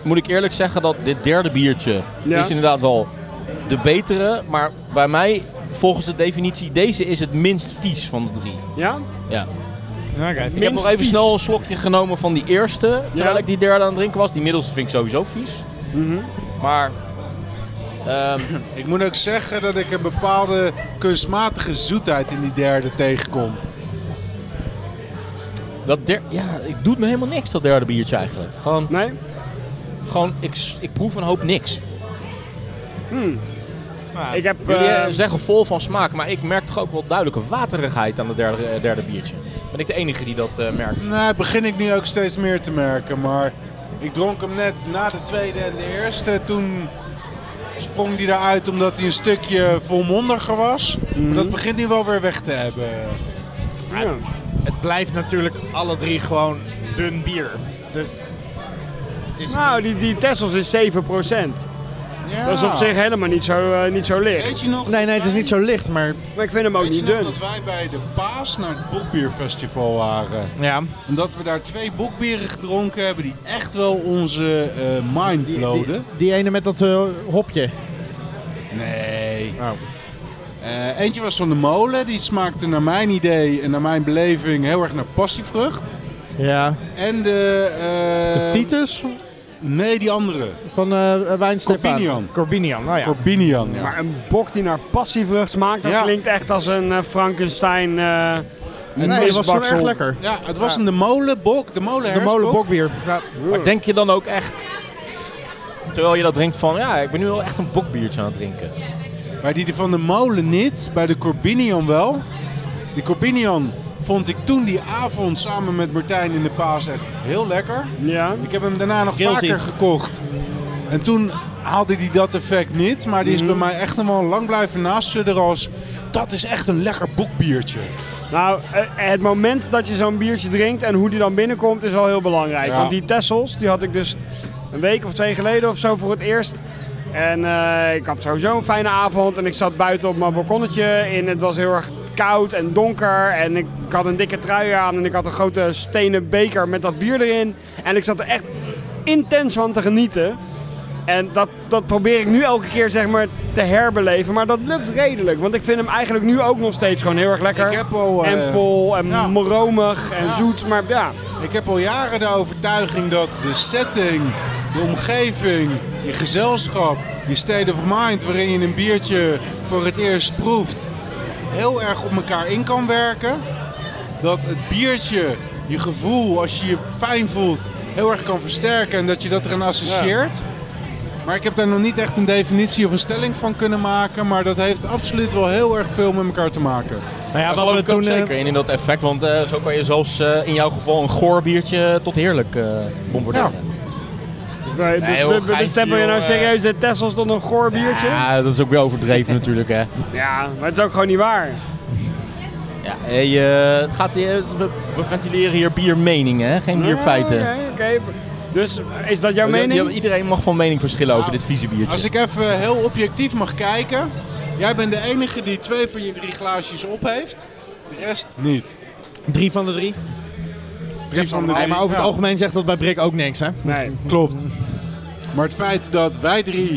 S1: moet ik eerlijk zeggen dat dit derde biertje
S5: Ja.
S1: is inderdaad wel de betere. Maar bij mij, volgens de definitie, deze is het minst vies van de drie.
S5: ja?
S1: Ja.
S3: Oké.
S1: ik heb nog even snel een slokje genomen van die eerste, terwijl
S5: Ja. Mhm.
S1: ik die derde aan het drinken was. Die middelste vind ik sowieso vies. Maar ehm,
S6: Ik moet ook zeggen dat ik een bepaalde kunstmatige zoetheid in die derde tegenkom.
S1: dat der, ja, het doet me helemaal niks, dat derde biertje eigenlijk. Gewoon,
S5: Nee?
S1: gewoon ik, s- ik proef een hoop niks.
S5: Ik heb...
S1: Jullie eh,
S5: eh,
S1: zeggen vol van smaak, maar ik merk toch ook wel duidelijke waterigheid aan het derde, eh, derde biertje. Ben ik de enige die dat eh, merkt?
S6: Nou, begin ik nu ook steeds meer te merken, maar ik dronk hem net na de tweede en de eerste. Toen sprong hij eruit omdat hij een stukje volmondiger was. Maar dat begint nu wel weer weg te hebben.
S5: ja.
S3: Het blijft natuurlijk alle drie gewoon dun bier. Dus
S5: Nou, die, die Tessels is 7%.
S6: Ja.
S5: Dat is op zich helemaal niet zo, eh, niet zo
S6: Ah. Weet
S5: licht.
S6: je nog?
S3: nee, nee, het is niet zo licht, maar...
S5: Maar ik vind hem ook
S6: Weet je
S5: niet
S6: nog
S5: dun.
S6: dat wij bij de Paas naar het Boekbierfestival waren?
S3: Ja.
S6: En dat we daar twee boekbieren gedronken hebben die echt wel onze eh mind
S3: Die,
S6: bloden.
S3: die ene met dat eh, hopje.
S6: Nee. Eh, eentje was van de molen, die smaakte naar mijn idee en naar mijn beleving heel erg naar passievrucht.
S3: Ja.
S6: En de... eh,
S3: De Vitus
S6: Nee, die andere.
S3: van eh Wijn Stefan.
S6: Corbinian.
S3: Corbinian, nou ja.
S6: Corbinian. Ja.
S5: Maar een bok die naar passievrucht smaakt, dat
S6: Ja.
S5: klinkt echt als een eh, Frankenstein... eh,
S3: nee, die was zo
S5: misbaksel.
S3: erg lekker.
S6: Ja, het was een de molenbok, de
S3: De
S6: molenhersbok.
S3: molenbokbier. Ja.
S1: Maar denk je dan ook echt, terwijl je dat drinkt, van ja, ik ben nu wel echt een bokbiertje aan het drinken.
S6: Bij die van de molen niet, bij de Corbinian wel. Die Corbinian vond ik toen die avond samen met Martijn in de Paas echt heel lekker.
S5: Ja.
S6: Ik heb hem daarna nog
S3: Guilty.
S6: vaker gekocht. En toen haalde hij dat effect niet, maar die is bij mij echt nog wel lang blijven naastzudderen als... Dat is echt een lekker boekbiertje.
S5: Nou, eh, het moment dat je zo'n biertje drinkt en hoe die dan binnenkomt is wel heel belangrijk.
S6: Ja.
S5: Want die Tessels, die had ik dus een week of twee geleden of zo voor het eerst. En eh, ik had sowieso een fijne avond en ik zat buiten op mijn balkonnetje en het was heel erg koud en donker. En ik, ik had een dikke trui aan en ik had een grote stenen beker met dat bier erin. En ik zat er echt intens van te genieten. En dat, dat probeer ik nu elke keer zeg maar, te herbeleven. Maar dat lukt redelijk. Want ik vind hem eigenlijk nu ook nog steeds gewoon heel erg lekker.
S6: Ik heb al, eh,
S5: en vol en
S6: ja.
S5: romig en zoet. Maar ja,
S6: Ik heb al jaren de overtuiging dat de setting, de omgeving, je gezelschap, je state of mind waarin je een biertje voor het eerst proeft, heel erg op elkaar in kan werken. Dat het biertje je gevoel, als je je fijn voelt, heel erg kan versterken en dat je dat eraan associeert. Maar ik heb daar nog niet echt een definitie of een stelling van kunnen maken. Maar dat heeft absoluut wel heel erg veel met elkaar te maken.
S1: Daar
S7: Nou ja, we
S1: geloof
S7: hadden
S1: ik ook
S7: toen... eh,
S1: zeker in, in dat effect. Want eh, zo kan je zelfs eh, in jouw geval een goor biertje tot heerlijk eh bombarderen.
S5: Wij
S1: Nee,
S5: bes-
S1: joh,
S5: dus we- we
S1: geintje,
S5: bestempelen je nou
S1: joh,
S5: serieus de Tessels tot een goor biertje? Ja.
S1: Ja, dat is ook weer overdreven natuurlijk, hè.
S5: maar het is ook gewoon niet waar.
S1: Ja, hey, eh, het gaat, eh, we, we ventileren hier biermeningen, hè? geen bierfeiten.
S5: Ah, Oké, oké. Dus is dat jouw mening?
S1: Ja, Iedereen mag van mening verschillen over dit vieze biertje.
S6: Als ik even heel objectief mag kijken. Jij bent de enige die twee van je drie glaasjes op heeft. De rest niet.
S7: Drie van de drie.
S6: Drie van de
S7: Nee, maar over het
S6: Ja,
S7: algemeen zegt dat bij Brik ook niks, hè?
S5: Nee.
S6: Klopt. Maar het feit dat wij drie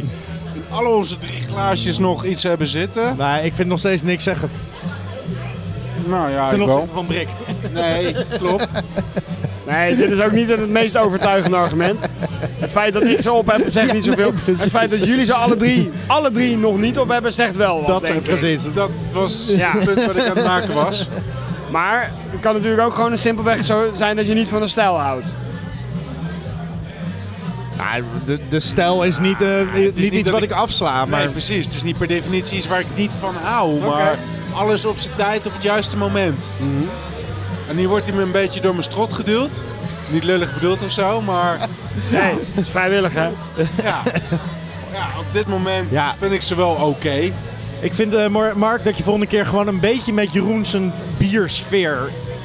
S6: in al onze drie glaasjes nog iets hebben zitten.
S7: Nee, ik vind nog steeds niks zeggen.
S6: Nou ja,
S7: Ten
S6: ik wel.
S7: opzichte van Brik.
S6: Nee, klopt.
S5: nee, dit is ook niet het meest overtuigende argument. Het feit dat ik ze op heb, zegt niet zoveel. het feit dat jullie ze alle drie, alle drie nog niet op hebben, zegt wel wat,
S7: Dat
S5: denk
S7: zijn
S5: ik.
S7: precies.
S6: Dat was
S5: Ja.
S6: het punt wat ik aan het maken was.
S5: Maar het kan natuurlijk ook gewoon een simpelweg zo zijn dat je niet van de stijl houdt.
S7: Nou, de, de stijl is niet, eh, niet,
S6: niet
S7: iets
S6: dat
S7: wat
S6: ik-
S7: ik afsla, maar...
S6: Nee, precies. Het is niet per definitie iets waar ik niet van hou. Maar alles op zijn tijd, op het juiste moment. En hier wordt hij me een beetje door mijn strot geduwd. Niet lullig bedoeld of zo, maar...
S5: Nee, dat is vrijwillig hè.
S6: Ja. ja, op dit moment
S7: Ja.
S6: vind ik ze wel oké.
S7: Ik vind, eh, Mar- Mark, dat je volgende keer gewoon een beetje met Jeroen zijn biersfeer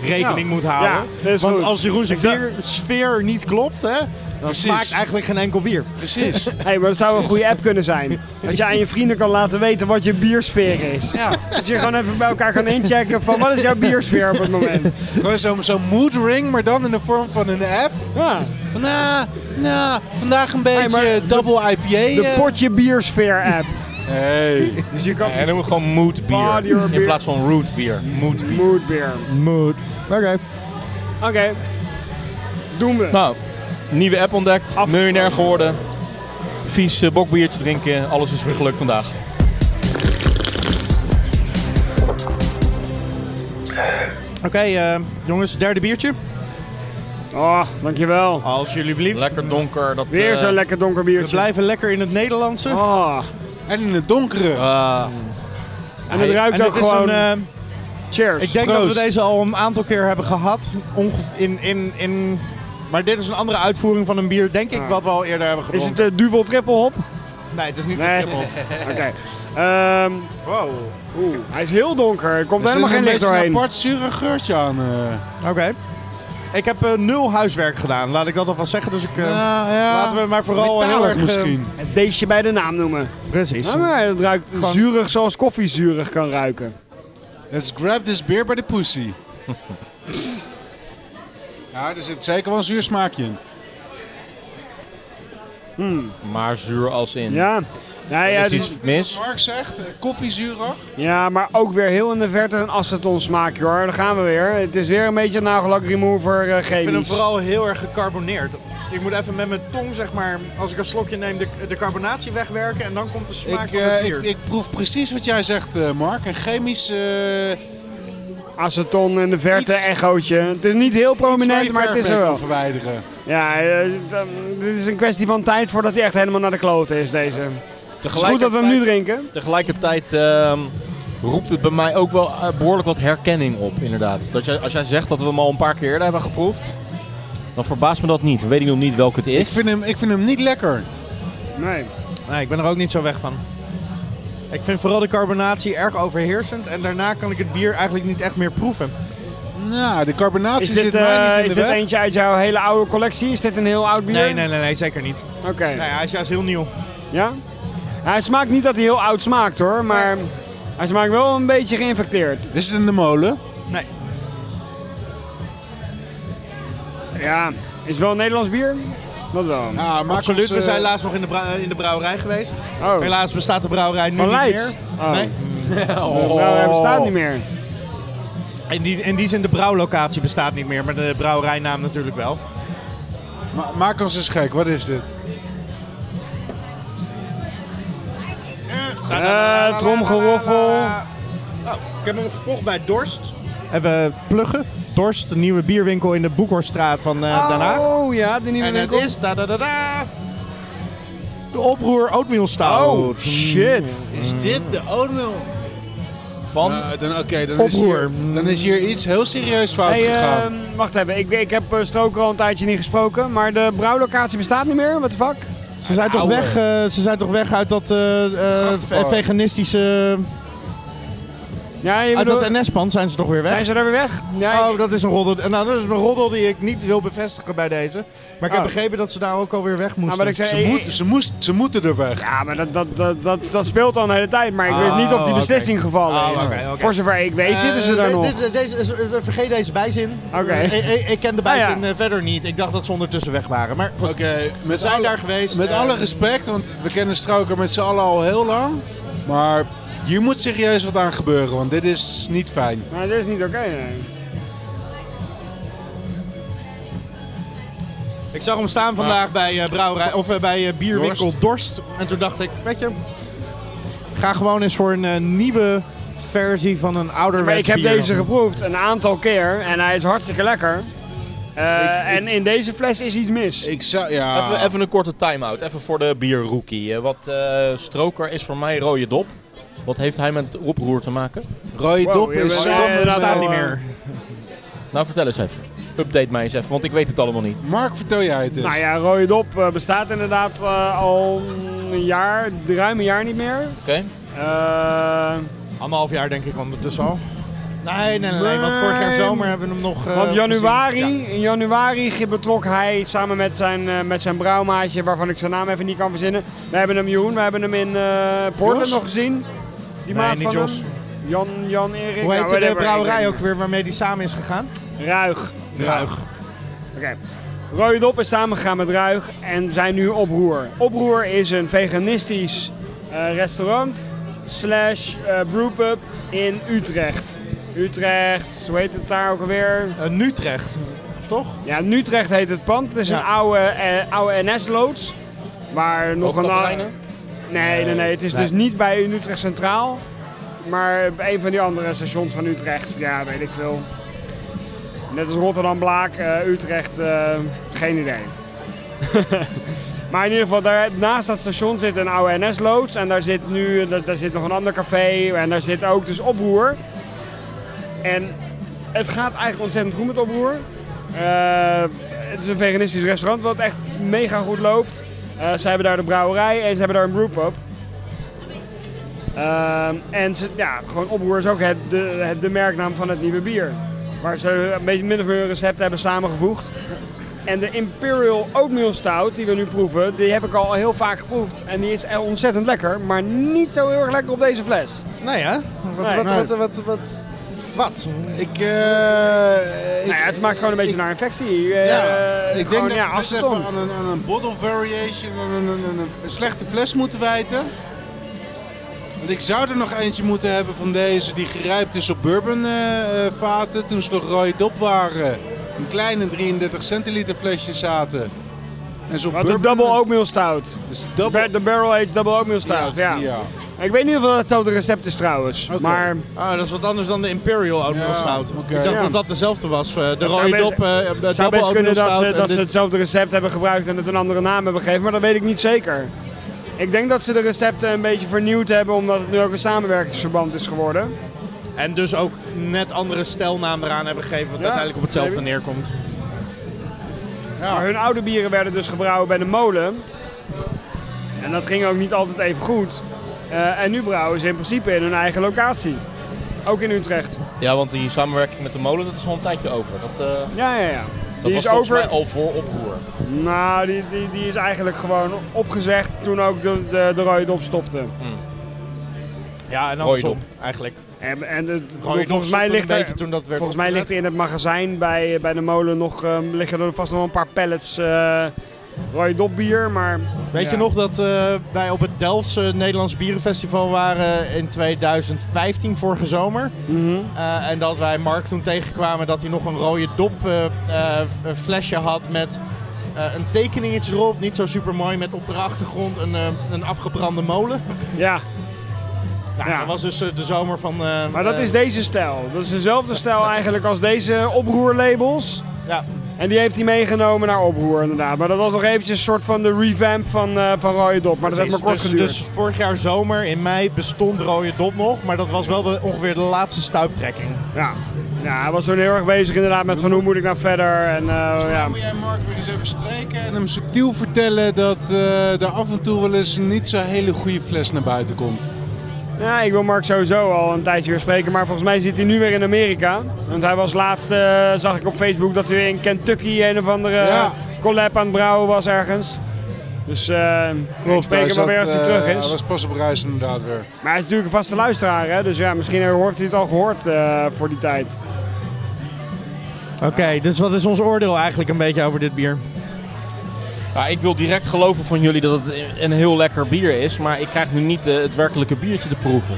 S7: rekening moet
S5: Ja,
S7: houden.
S5: dat is
S7: Want
S5: goed.
S7: als Jeroen zijn
S5: Ik zou-
S7: biersfeer niet klopt, hè, dan
S6: Precies.
S7: smaakt eigenlijk geen enkel bier.
S6: Precies.
S5: Hey, maar dat zou een goede app kunnen zijn. Dat je aan je vrienden kan laten weten wat je biersfeer is.
S6: Ja.
S5: Dat je gewoon even bij elkaar kan inchecken van wat is jouw biersfeer op het moment.
S6: Gewoon zo'n zo mood ring, maar dan in de vorm van een app.
S5: Ja.
S6: Van, nou, nou, vandaag een beetje
S5: maar de-
S6: double IPA.
S5: De
S6: eh.
S5: potje biersfeer app.
S6: hey.
S5: Dus je kan
S1: En noemen we gewoon mood
S5: Body or
S1: bier.
S5: beer.
S1: In plaats van root bier. Mood bier.
S5: mood beer.
S7: Mood. Oké.
S5: Oké. Doen we.
S1: Nou, nieuwe app ontdekt. Miljonair geworden. Vies eh, bokbiertje drinken. Alles is weer gelukt vandaag.
S7: Oké, eh, jongens, derde biertje.
S5: Oh, dankjewel.
S7: Als jullie blieft.
S1: Lekker donker. Dat,
S5: Weer
S1: eh,
S5: zo'n lekker donker
S7: We
S5: biertje.
S7: blijven lekker in het Nederlandse.
S5: Oh.
S6: En in het donkere.
S1: ah,
S5: En het
S7: En
S5: ruikt
S7: dit
S5: ook
S7: is
S5: gewoon...
S7: een, eh,
S5: cheers.
S7: ik denk dat
S5: Proost.
S7: we deze al een aantal keer hebben gehad. Ongeveer in, in, in, maar dit is een andere uitvoering van een bier, denk ik, wat we al eerder hebben
S5: Ah. Is
S7: gedronken.
S5: het de duvel triple hop?
S7: Nee, het is niet
S5: Nee.
S7: de triple.
S5: Oké. Ehm,
S7: Wow.
S5: oeh, hij is heel donker. Er komt
S6: Er zit
S5: helemaal geen
S6: een
S5: licht
S6: beetje
S5: doorheen.
S6: een apart zure geurtje aan. eh.
S7: Oké. Ik heb eh, nul huiswerk gedaan, laat ik dat alvast zeggen. Dus ik, eh,
S6: Nou, ja.
S7: laten we maar vooral heel
S6: Metalig
S7: erg... eh,
S6: misschien.
S5: Het beestje bij de naam noemen.
S7: precies.
S5: Ah, nee, het ruikt
S7: Gewoon-
S5: zuurig zoals koffiezuurig kan ruiken.
S6: Let's grab this beer by the pussy. ja, er zit zeker wel een zuur smaakje in.
S1: maar zuur als in.
S5: Ja. Nee, ja,
S1: Er is
S5: het is-
S1: iets mis.
S6: Mark zegt, eh, koffiezuurig.
S5: ja, maar ook weer heel in de verte een aceton smaakje hoor. Daar gaan we weer. Het is weer een beetje nagellak remover eh chemisch.
S7: Ik vind hem vooral heel erg gecarboneerd. Ik moet even met mijn tong, zeg maar, als ik een slokje neem, de, de carbonatie wegwerken. En dan komt de smaak
S6: Ik,
S7: van het
S6: eh,
S7: bier.
S6: ik, ik proef precies wat jij zegt, eh, Mark. Een chemisch... eh,
S5: Aceton in de verte,
S6: Iets-
S5: echootje. Het is niet heel
S6: iets waar je
S5: prominent, maar het is er
S6: verfwerk
S5: wel.
S6: kan verwijderen.
S5: Ja, eh, d- eh, dit is een kwestie van tijd voordat hij echt helemaal naar de kloten is, deze. Het is goed dat we hem nu drinken.
S1: Tegelijkertijd ehm, roept het bij mij ook wel eh, behoorlijk wat herkenning op, inderdaad. Dat jij, als jij zegt dat we hem al een paar keer eerder hebben geproefd, dan verbaast me dat niet. Dan weet ik nog niet welke het
S6: Ik
S1: is.
S6: vind, hem, ik vind hem niet lekker.
S5: Nee.
S7: Nee, ik ben er ook niet zo weg van. Ik vind vooral de carbonatie erg overheersend. En daarna kan ik het bier eigenlijk niet echt meer proeven.
S6: Nou, de carbonatie
S5: Is dit,
S6: zit mij
S5: eh,
S6: niet in
S5: is
S6: de
S5: dit
S6: weg.
S5: eentje uit jouw hele oude collectie? Is dit een heel oud bier?
S7: Nee, nee, nee, nee zeker niet.
S5: Oké.
S7: Nou ja, hij is juist heel nieuw.
S5: Ja? Hij smaakt niet dat hij heel oud smaakt hoor, maar hij smaakt wel een beetje geïnfecteerd.
S6: Is het in de molen?
S7: Nee.
S5: Ja, is wel een Nederlands bier? Dat wel.
S6: Ja, maak
S7: Absoluut,
S6: ons,
S7: we
S6: eh,
S7: zijn laatst nog in de, brou- in de brouwerij geweest.
S5: Oh.
S7: Helaas bestaat de brouwerij nu
S5: Van
S7: niet
S5: Leids.
S7: meer.
S5: Oh.
S7: Nee.
S5: Nou, hij bestaat niet meer.
S7: In die, in die zin, de brouwlocatie bestaat niet meer, maar de brouwerijnaam natuurlijk wel.
S6: ma- maak ons eens gek, wat is dit?
S5: Eh tromgeroffel.
S7: Ik heb hem gekocht bij Dorst. Hebben we Pluggen. Dorst, de nieuwe bierwinkel in de Boekhorststraat van eh Den Haag.
S5: Oh ja, de nieuwe
S7: En het
S5: winkel.
S7: is da da da da. De oproer oatmeal stout.
S5: Oh, shit.
S6: Is dit de oatmeal?
S1: Van?
S6: Eh, dan Oké, dan, is hier- dan is hier iets heel serieus fout
S5: Hey,
S6: gegaan.
S5: ehm, wacht even, ik, ik heb eh, Stroker al een tijdje niet gesproken, maar de brouwlocatie bestaat niet meer, what the fuck?
S7: Ze zijn, toch
S6: Oude.
S7: weg, eh, ze zijn toch weg uit dat eh, eh,
S6: Gastgebouw.
S7: veganistische...
S5: Ja, je
S7: Uit
S5: bedoelt,
S7: dat NS-pand zijn ze toch weer weg?
S5: zijn ze er weer weg? Ja,
S7: Oh, dat is een roddel. Nou, dat is een roddel die ik niet wil bevestigen bij deze. Maar ik heb
S5: Oh.
S7: begrepen dat ze daar ook alweer weg moesten.
S5: nou, maar ik zei,
S6: ze,
S5: eh,
S6: moet, ze, moest, ze moeten er weg.
S5: ja, maar dat, dat, dat, dat, dat speelt al een hele tijd, maar ik weet niet of die
S7: oké.
S5: beslissing gevallen
S7: Oh,
S5: is.
S7: oké, oké.
S5: Voor zover ik weet zitten ze
S7: Eh,
S5: daar
S7: de-
S5: nog.
S7: dit- deze, is- eh, vergeet deze bijzin.
S5: Oké.
S7: Eh, eh, eh, ik ken de
S5: Ah, ja.
S7: bijzin eh, verder niet. Ik dacht dat ze ondertussen weg waren. Maar goed,
S6: Oké,
S7: we
S6: met,
S7: zijn
S6: alle,
S7: daar geweest.
S6: met
S7: eh,
S6: alle respect, want we kennen Strauker met z'n allen al heel lang. Maar hier moet serieus wat aan gebeuren, want dit is niet fijn.
S5: Maar dit is niet oké, nee.
S7: Ik zag hem staan vandaag bij, eh, brouwerij, of, eh, bij eh, bierwinkel Dorst. En toen dacht ik, weet je, ga gewoon eens voor een eh, nieuwe versie van een ouderwets
S5: Maar ik heb
S7: bier.
S5: deze geproefd een aantal keer en hij is hartstikke lekker. Eh, En in deze fles is iets mis.
S6: Ik zou, ja...
S1: Even, even een korte time-out, even voor de bierrookie. Eh, Wat eh, stroker is voor mij rode dop. Wat heeft hij met oproer te maken?
S6: Rode
S5: Wow,
S6: dop
S5: je
S6: is...
S5: bent-
S6: zo-
S5: eh,
S7: Dom bestaat
S5: inderdaad
S7: niet
S5: wel, eh,
S7: meer.
S1: Nou, vertel eens even. Update mij eens even, want ik weet het allemaal niet.
S6: Mark, vertel jij het eens.
S5: Nou ja, rode dop eh, bestaat inderdaad eh, al een jaar, ruim een jaar niet meer.
S1: Oké?
S5: Eh,
S7: Anderhalf jaar denk ik ondertussen al. Nee, nee, nee, nee, want vorig jaar
S5: Nee.
S7: zomer hebben we hem nog eh,
S5: want januari,
S7: gezien.
S5: in januari ge- betrok hij samen met zijn, eh, met zijn brouwmaatje, waarvan ik zijn naam even niet kan verzinnen. We hebben hem, Jeroen, we hebben hem in eh Portland
S6: Jos?
S5: nog gezien. Die
S7: Nee,
S5: maat
S7: niet
S5: van
S7: Jos.
S5: hem. Jan, Jan, Erik.
S7: Ja. Hoe
S5: nou,
S7: heette de
S5: whatever, ik
S7: brouwerij
S5: weet
S7: ook weer waarmee die samen is gegaan?
S5: het niet. Ruig.
S7: Ruig.
S5: Oké. Rode Dop is samengegaan met Ruig en we zijn nu Oproer. Oproer is een veganistisch eh, restaurant slash eh, brewpub in Utrecht. Utrecht, hoe heet het daar ook alweer?
S7: Eh, Nutrecht, toch?
S5: Ja, in Utrecht heet het pand. Het is
S7: Ja.
S5: een oude, eh, oude NS-loods. Waar nog een...
S1: Hoofdkaterijnen?
S5: Nee, nee, nee. Het is dus niet bij Utrecht Centraal. Maar bij een van die andere stations van Utrecht. Ja, weet ik veel. Net als Rotterdam Blaak, eh, Utrecht, eh, geen idee. maar in ieder geval, daar, naast dat station zit een oude NS-loods. En daar zit nu daar, daar zit nog een ander café. En daar zit ook dus oproer. En het gaat eigenlijk ontzettend goed met oproer. Eh, het is een veganistisch restaurant wat echt mega goed loopt. Eh, ze hebben daar de brouwerij en ze hebben daar een brewpub. Ehm, en ze, ja, gewoon oproer is ook het, de, het, de merknaam van het nieuwe bier. Waar ze een beetje minder van hun recepten hebben samengevoegd. En de Imperial Oatmeal Stout die we nu proeven, die heb ik al heel vaak geproefd. En die is echt ontzettend lekker, maar niet zo heel erg lekker op deze fles.
S7: Nou ja, wat,
S5: Nee,
S7: wat,
S5: nee.
S7: wat, wat, wat, wat?
S6: Ik, eh, ik-
S5: Nou ja, het smaakt gewoon een beetje naar infectie.
S6: Ja,
S5: Eh,
S6: ik
S5: gewoon,
S6: denk dat
S5: ja,
S6: we dit
S5: aceton.
S6: even aan een, aan een bottle variation, aan een, aan een, een slechte fles moeten wijten. Want ik zou er nog eentje moeten hebben van deze die gerijpt is op bourbon eh, eh, vaten toen ze nog rode dop waren. Een kleine 33 centiliter flesje zaten. En zo'n
S5: Wat een
S6: bourbon...
S5: double oatmeal stout.
S6: Dus
S5: De
S6: double-
S5: bar- De barrel aged double oatmeal stout, ja.
S6: ja.
S5: Ik weet niet of dat hetzelfde recept is trouwens.
S6: Oké.
S5: Maar
S7: Ah, dat is wat anders dan de Imperial Oatmeal
S6: Ja,
S7: Stout.
S6: oké.
S7: Ik dacht
S5: Ja.
S7: dat dat dezelfde was. eh, De
S5: zou
S7: rode
S5: best-
S7: dop, eh, de
S5: het zou
S7: double
S5: best kunnen dat,
S7: Oatmeal Stout.
S5: ze,
S7: en
S5: dat ze
S7: dit-
S5: hetzelfde recept hebben gebruikt en het een andere naam hebben gegeven, maar dat weet ik niet zeker. Ik denk dat ze de recepten een beetje vernieuwd hebben, omdat het nu ook een samenwerkingsverband is geworden.
S7: En dus ook net andere stelnaam eraan hebben gegeven, wat
S5: Ja,
S7: uiteindelijk op hetzelfde
S5: maybe.
S7: neerkomt.
S5: Maar hun oude bieren werden dus gebrouwen bij de molen. En dat ging ook niet altijd even goed. Eh, en nu brouwen ze in principe in hun eigen locatie. Ook in Utrecht.
S1: Ja, want die samenwerking met de molen, dat is al een tijdje over. Dat, eh,
S5: Ja, ja, ja.
S1: dat
S5: Die
S1: was
S5: is
S1: volgens mij
S5: over.
S1: al voor oproer.
S5: Nou, die, die, die is eigenlijk gewoon opgezegd toen ook de, de, de rode dop stopte.
S7: Ja, en
S1: Rode
S7: andersom eigenlijk.
S5: En, en het,
S7: Rode dop
S5: volgens mij
S7: stopte
S5: ligt
S7: een
S5: er,
S7: beetje toen dat werd
S5: volgens mij
S7: opgezet.
S5: ligt er in het magazijn bij, bij de molen nog, ehm, liggen er vast nog wel een paar pallets eh, rode dop bier, maar
S7: Weet
S5: Ja.
S7: je nog dat eh, wij op het Delftse Nederlands Bierenfestival waren in 2015, vorige zomer?
S5: Mhm.
S7: Eh, en dat wij Mark toen tegenkwamen dat hij nog een rode dop eh, eh, f- eh, flesje had met eh, een tekeningetje erop. Niet zo super mooi, met op de achtergrond een, eh, een afgebrande molen.
S5: ja.
S7: Ja,
S5: Ja.
S7: Dat was dus eh, de zomer van... eh,
S5: Maar dat
S7: eh,
S5: is deze stijl. Dat is dezelfde stijl eigenlijk als deze oproerlabels.
S7: Ja.
S5: En die heeft hij meegenomen naar oproer inderdaad. Maar dat was nog eventjes een soort van de revamp van, eh van Rode Dop. Maar dat heeft maar kort
S7: Precies.
S5: geduurd.
S7: dus, dus vorig jaar zomer in mei bestond Rode Dop nog, maar dat was wel de, ongeveer de laatste stuiptrekking.
S5: Ja. ja, hij was toen heel erg bezig inderdaad met van hoe moet ik nou verder. En, eh, ja.
S6: Nou, Moet jij Mark weer eens even spreken en hem subtiel vertellen dat eh, er af en toe wel eens niet zo'n hele goede fles naar buiten komt.
S5: ja, ik wil Mark sowieso al een tijdje weer spreken. Maar volgens mij zit hij nu weer in Amerika. Want hij was laatst, eh, zag ik op Facebook, dat hij weer in Kentucky een of andere
S6: Ja.
S5: collab aan het brouwen was ergens. Dus eh ik spreek hem wel weer als hij terug is.
S6: Dat eh, was pas op reis inderdaad weer.
S5: Maar hij is natuurlijk een vaste luisteraar, hè? dus ja, misschien heeft hij het al gehoord eh, voor die tijd.
S7: Oké, dus wat is ons oordeel eigenlijk een beetje over dit bier?
S1: Ja, ik wil direct geloven van jullie dat het een heel lekker bier is, maar ik krijg nu niet eh, het werkelijke biertje te proeven.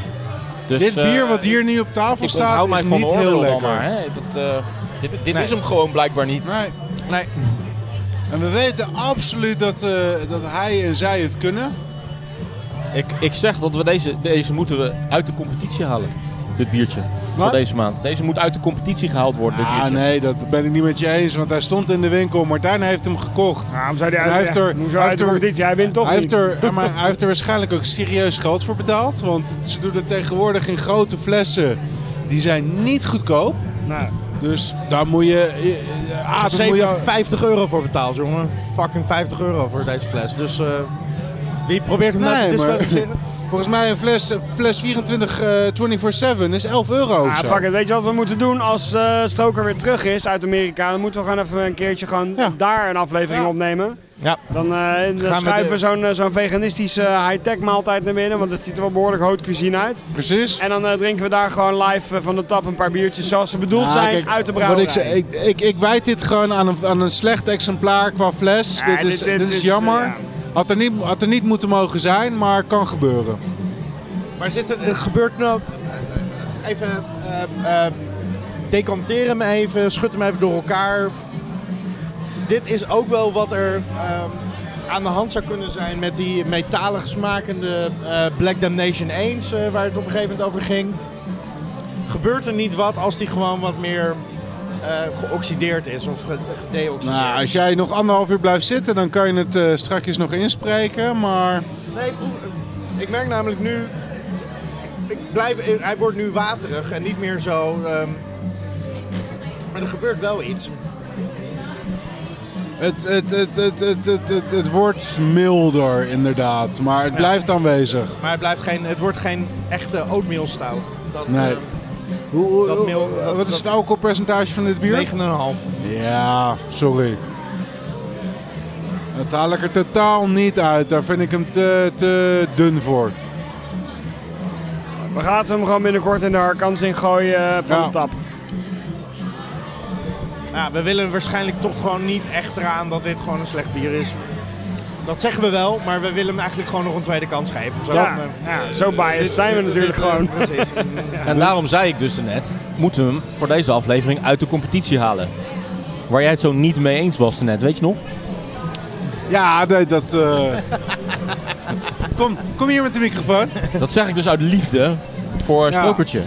S1: Dus,
S6: Dit
S1: eh,
S6: bier wat hier nu op tafel
S1: ik
S6: staat
S1: onthoud mij
S6: is
S1: van
S6: niet
S1: oordeel dan
S6: heel lekker.
S1: Maar, hè? Dat, eh, dit dit
S7: Nee.
S1: is hem gewoon blijkbaar niet.
S6: Nee.
S7: Nee.
S6: En we weten absoluut dat, eh, dat hij en zij het kunnen.
S1: Ik, ik zeg dat we deze, deze moeten we uit de competitie halen. Dit biertje. Voor
S6: Wat?
S1: deze maand. Deze moet uit de competitie gehaald worden. Dit
S6: Ah
S1: biertje.
S6: nee, dat ben ik niet met je eens, want hij stond in de winkel. Martijn heeft hem gekocht.
S5: Waarom zou hij
S6: En hij
S5: uit,
S6: heeft er-
S5: hoezo
S6: hij
S5: uit
S6: heeft
S5: de
S6: er-
S5: competitie? Hij wint toch
S6: Hij
S5: niet.
S6: heeft, er, ja, maar hij heeft er waarschijnlijk ook serieus geld voor betaald. Want ze doen het tegenwoordig in grote flessen. Die zijn niet goedkoop.
S5: Nee.
S6: Dus daar moet je... eh, eh, Ah, dan moet je
S7: 50 euro voor betaald, jongen. Fucking 50 euro voor deze fles. Dus eh, wie probeert hem nou
S6: Nee,
S7: te
S6: maar-
S7: disqualificeren?
S6: volgens mij een fles, een fles 24 eh, 24-7 is 11 euro of
S5: Ah,
S6: zo.
S5: fuck it. Weet je wat we moeten doen als eh, Stoker weer terug is uit Amerika? Dan moeten we gewoon even een keertje gewoon
S6: Ja.
S5: daar een aflevering
S6: Ja.
S5: opnemen.
S7: Ja.
S5: Dan, eh, dan
S7: we
S5: schuiven
S7: de-
S5: we zo'n eh, zo'n veganistische eh, high-tech maaltijd naar binnen, want het ziet er wel behoorlijk haute cuisine uit.
S6: Precies.
S5: En dan eh, drinken we daar gewoon live eh, van de tap een paar biertjes zoals ze bedoeld
S6: Ah,
S5: zijn
S6: kijk,
S5: uit de
S6: wat
S5: brouwerij.
S6: ik, zei, ik, ik, ik wijd dit gewoon aan een, aan een slecht exemplaar qua fles.
S5: Ja,
S6: dit, is, dit, is
S5: eh,
S6: jammer.
S5: ja.
S6: had, er niet, had er niet moeten mogen zijn, maar kan gebeuren.
S7: Maar zit er, er gebeurt nou... eh, Even... eh, eh, decanteer hem even, schud hem even door elkaar. Dit is ook wel wat er ehm, aan de hand zou kunnen zijn met die metalig smakende eh, Black Damnation 1, eh, waar het op een gegeven moment over ging. Gebeurt er niet wat als die gewoon wat meer eh, geoxideerd is of ge- gedeoxideerd?
S6: Nou, als jij nog anderhalf uur blijft zitten, dan kan je het eh, strakjes nog inspreken. Maar
S7: Nee, ik, proef- ik merk namelijk nu. Ik blijf, hij wordt nu waterig en niet meer zo. ehm, maar er gebeurt wel iets.
S6: het, het, het, het, het, het, het, het wordt milder inderdaad. Maar het blijft aanwezig.
S7: Maar het, blijft geen, het wordt geen echte oatmeal stout. Dat,
S6: Nee.
S7: ehm,
S6: Hoe, hoe-
S7: Dat mil-
S6: hoe-
S7: dat-
S6: wat is
S7: dat-
S6: het alcoholpercentage van dit bier?
S7: 9,5.
S6: Ja, sorry. Dat haal ik er totaal niet uit. Daar vind ik hem te, te dun voor.
S5: We gaan hem gewoon binnenkort in de harkans in gooien eh, van
S6: Ja.
S5: de tap.
S7: Ja, we willen waarschijnlijk toch gewoon niet echt eraan dat dit gewoon een slecht bier is. Dat zeggen we wel, maar we willen hem eigenlijk gewoon nog een tweede kans geven. of Zo.
S5: Ja,
S7: Eh,
S5: ja, zo biased
S7: dit-
S5: zijn we
S7: dit-
S5: natuurlijk
S7: dit- eh,
S5: gewoon.
S7: Precies.
S1: En daarom zei ik dus net, moeten we hem voor deze aflevering uit de competitie halen. Waar jij het zo niet mee eens was net, weet je nog?
S6: Ja, nee, dat... eh, kom, kom hier met de microfoon.
S1: Dat zeg ik dus uit liefde voor
S6: Ja.
S1: Strokertje.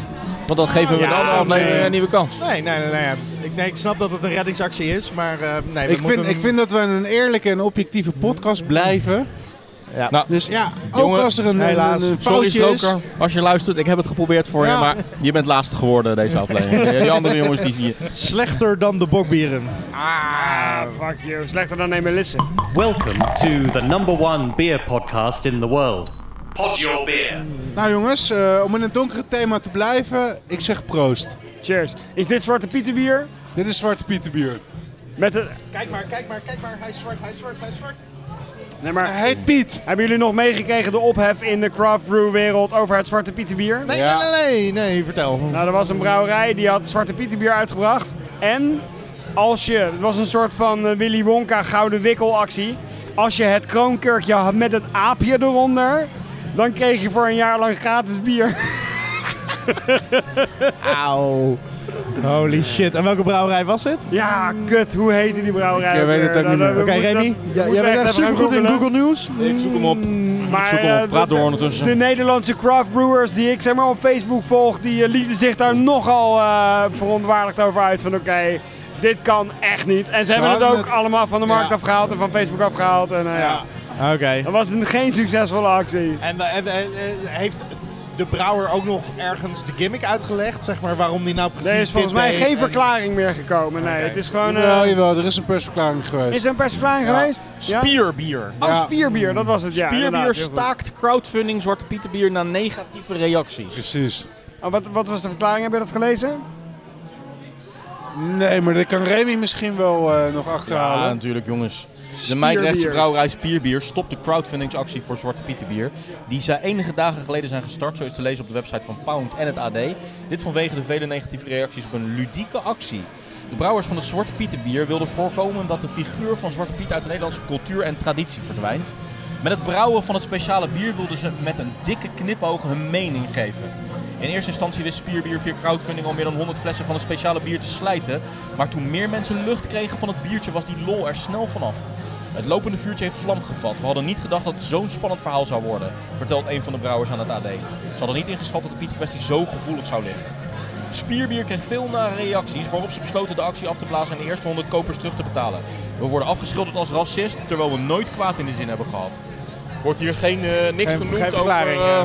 S1: Want dan geven we
S5: Ja,
S1: de andere aflevering
S5: nee.
S1: een nieuwe kans.
S7: Nee, nee, nee. nee. Ik, nee, ik snap dat het een reddingsactie is, maar eh, nee, we
S6: Ik
S7: moeten
S6: vind,
S7: hem-
S6: ik vind dat we een eerlijke en objectieve podcast blijven.
S7: Ja.
S1: Nou,
S6: Dus ja, ook
S1: jongen,
S6: als er een, een-
S7: helaas.
S6: een
S1: Sorry
S6: foutje is.
S1: Stroker, als je luistert, ik heb het geprobeerd voor
S6: Ja.
S1: je, maar je bent laatste geworden deze aflevering. Die andere jongens die hier...
S7: Slechter dan de bokbieren.
S5: Ah, fuck you. Slechter dan Emelissen.
S4: Welcome to the number one beer podcast in the world. Pod your beer.
S6: Nou jongens, eh, om in het donkere thema te blijven, ik zeg proost.
S5: Cheers. Is dit Zwarte Pieterbier?
S6: Dit is Zwarte Pieterbier.
S5: Met het...
S7: Kijk maar, kijk maar, kijk maar. Hij is zwart, hij is zwart, hij is zwart.
S5: Nee, maar...
S6: Hij heet Piet.
S5: Hebben jullie nog meegekregen de ophef in de craft brew wereld over het Zwarte Pieterbier?
S7: Nee,
S6: Ja.
S7: nee, nee, nee, nee, vertel.
S5: Nou, er was een brouwerij die had Zwarte Pieterbier uitgebracht. En als je, het was een soort van eh, Willy Wonka gouden wikkelactie. Als je het kroonkurkje had met het aapje eronder, dan kreeg je voor een jaar lang gratis bier.
S9: Auw. Holy shit. En welke brouwerij was dit?
S5: Ja, kut. Hoe heette die brouwerij?
S9: eh,
S6: Ik
S5: ook
S6: weet
S5: weer?
S6: het ook
S5: Nou,
S6: niet meer.
S5: we
S9: Oké,
S5: moeten
S9: Remy.
S5: dat-
S9: Ja,
S5: moeten
S9: jij
S5: we
S9: bent echt
S5: even gaan
S9: super goed in
S5: googelen.
S9: Google News.
S1: Ik zoek hem op.
S5: Maar,
S1: zoek hem op.
S5: eh,
S1: Praat
S5: de-
S1: door ondertussen.
S5: De Nederlandse craft brewers die ik zeg maar op Facebook volg, die eh, lieten zich daar nogal eh, verontwaardigd over uit. Van oké, dit kan echt niet. En ze, hebben het
S6: hadden
S5: ook
S6: het-
S5: allemaal van de markt
S6: Ja.
S5: afgehaald en van Facebook afgehaald. En eh, ja,
S9: Oké.
S5: dat was een, geen succesvolle actie.
S7: En, eh, en, eh, eh, heeft de brouwer ook nog ergens de gimmick uitgelegd? Zeg maar waarom die nou precies
S5: Er is volgens
S7: dit
S5: mij
S7: deed
S5: geen
S7: en-
S5: verklaring meer gekomen. Nee, het is gewoon... eh,
S6: Jawel, Nou, jawel, er is een persverklaring geweest.
S5: is er een persverklaring geweest? Ja?
S1: Spierbier.
S5: Oh, spierbier, dat was het, ja.
S1: Spierbier
S5: inderdaad, heel goed.
S1: staakt crowdfunding Zwarte Pieterbier na negatieve reacties.
S6: Precies.
S5: Oh, wat, wat was de verklaring? Heb je dat gelezen?
S6: Nee, maar dat kan Remy misschien wel eh, nog
S1: Ja,
S6: achterhalen.
S1: natuurlijk jongens. De
S5: Spierbier.
S1: Mijdrechtse brouwerij Spierbier stopt de crowdfundingsactie voor Zwarte Pieterbier. Die zij enige dagen geleden zijn gestart, zo is te lezen op de website van Pound en het AD. Dit vanwege de vele negatieve reacties op een ludieke actie. De brouwers van het Zwarte Pieterbier wilden voorkomen dat de figuur van Zwarte Piet uit de Nederlandse cultuur en traditie verdwijnt. Met het brouwen van het speciale bier wilden ze met een dikke knipoog hun mening geven. In eerste instantie wist Spierbier via crowdfunding al meer dan 100 flessen van het speciale bier te slijten. Maar toen meer mensen lucht kregen van het biertje was die lol er snel vanaf. Het lopende vuurtje heeft vlam gevat. We hadden niet gedacht dat het zo'n spannend verhaal zou worden, vertelt een van de brouwers aan het AD. Ze hadden niet ingeschat dat de Piet-kwestie zo gevoelig zou liggen. Spierbier kreeg veel nare reacties, waarop ze besloten de actie af te blazen en de eerste 100 kopers terug te betalen. We worden afgeschilderd als racist, terwijl we nooit kwaad in de zin hebben gehad. Wordt hier geen, eh, niks
S7: Geen-
S1: genoemd
S7: geen
S1: over,
S7: verklaring,
S1: eh,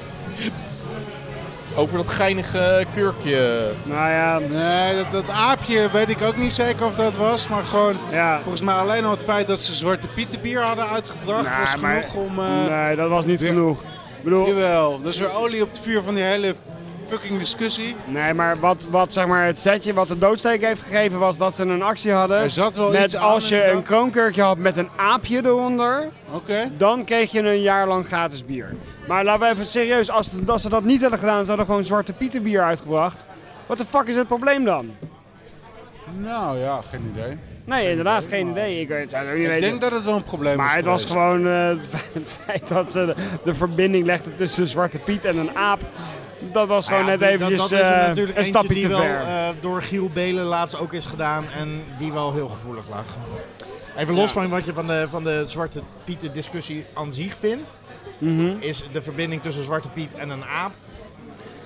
S1: over dat geinige kurkje.
S5: Nou ja,
S6: Nee, dat, dat aapje weet ik ook niet zeker of dat was. Maar gewoon,
S5: ja.
S6: volgens mij alleen al het feit dat ze Zwarte Pietenbier hadden uitgebracht
S5: Nou,
S6: was
S5: maar- Nou.
S6: genoeg om... eh,
S5: Nee, dat was niet
S6: Ja.
S5: genoeg. Ik bedoel,
S6: Jawel, dat is weer olie op het vuur van die hele fucking discussie.
S5: nee, maar wat, wat zeg maar het setje wat de doodsteek heeft gegeven was dat ze een actie hadden.
S6: Er zat wel iets
S5: Met
S6: aan
S5: als je een
S6: inderdaad.
S5: kroonkurkje had met een aapje eronder,
S6: Oké.
S5: dan kreeg je een jaar lang gratis bier. Maar laten we even serieus, als, als ze dat niet hadden gedaan, ze hadden gewoon zwarte Pieter bier uitgebracht. Wat de fuck is het probleem dan?
S6: Nou ja, geen idee.
S5: Nee, inderdaad, geen idee. Ik weet het ook niet
S6: Ik
S5: weten.
S6: denk dat het wel een probleem is
S5: Maar het was
S6: geweest.
S5: gewoon eh, het feit- het feit dat ze de, de verbinding legden tussen Zwarte Piet en een aap. Dat was gewoon
S7: Nou Ja,
S5: net
S7: die- dat-
S5: eventjes
S7: dat is er
S5: eh,
S7: natuurlijk
S5: een
S7: eentje
S5: stapje
S7: die
S5: te
S7: wel,
S5: ver.
S7: eh, door Giel Belen laatst ook is gedaan en die wel heel gevoelig lag. Even los van wat je van de, van de Zwarte Pieten discussie aan zich vindt,
S5: Mhm.
S7: is de verbinding tussen Zwarte Piet en een aap.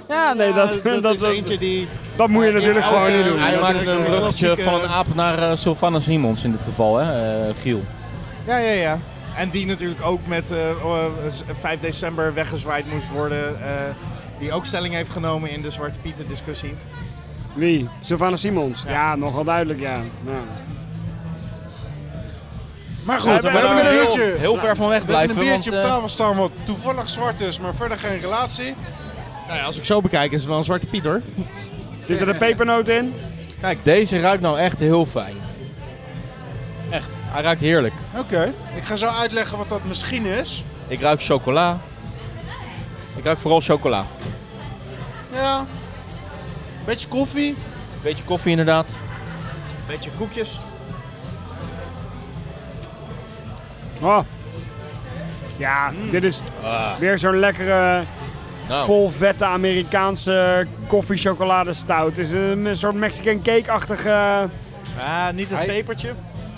S5: Ja, nee,
S7: Ja,
S5: dat, dat,
S7: dat
S5: dat,
S7: is eentje die...
S5: dat moet je
S7: Ja,
S5: natuurlijk
S7: elke-
S5: gewoon niet doen.
S7: Ja,
S1: Hij
S7: dat
S1: maakt
S7: is
S1: een
S7: een
S1: bruggetje
S7: klassieke-
S1: van een aap naar eh, Sylvana Simons in dit geval, hè, eh, Giel.
S7: Ja, ja, ja. En die natuurlijk ook met eh, oh, eh, 5 december weggezwaaid moest worden. eh, die ook stelling heeft genomen in de Zwarte Pieten discussie.
S5: Wie? Sylvana Simons? Ja, nogal duidelijk, ja. Nou.
S6: Maar goed, we,
S5: we hebben
S6: hebben een
S5: heel-
S6: biertje.
S1: Heel, ver van weg
S6: we hebben
S1: blijven.
S6: een biertje
S1: want,
S6: op
S1: eh,
S6: tafel staan wat toevallig zwart is, maar verder geen relatie.
S7: Nou ja, als ik zo bekijk is het wel een Zwarte Piet hoor.
S5: Zit er een pepernoot in?
S1: Deze ruikt nou echt heel fijn. Echt, hij ruikt heerlijk.
S6: Oké. Ik ga zo uitleggen wat dat misschien is.
S1: Ik ruik chocola. Ik ruik vooral chocola.
S6: Ja. Beetje koffie.
S1: Beetje koffie inderdaad.
S7: Beetje koekjes.
S5: Oh. Ja, dit is weer zo'n lekkere,
S1: Nou.
S5: vol vette Amerikaanse koffie-chocoladestout. Het is een, soort Mexican cake-achtige...
S7: Ah, niet het
S6: Hij-
S7: pepertje.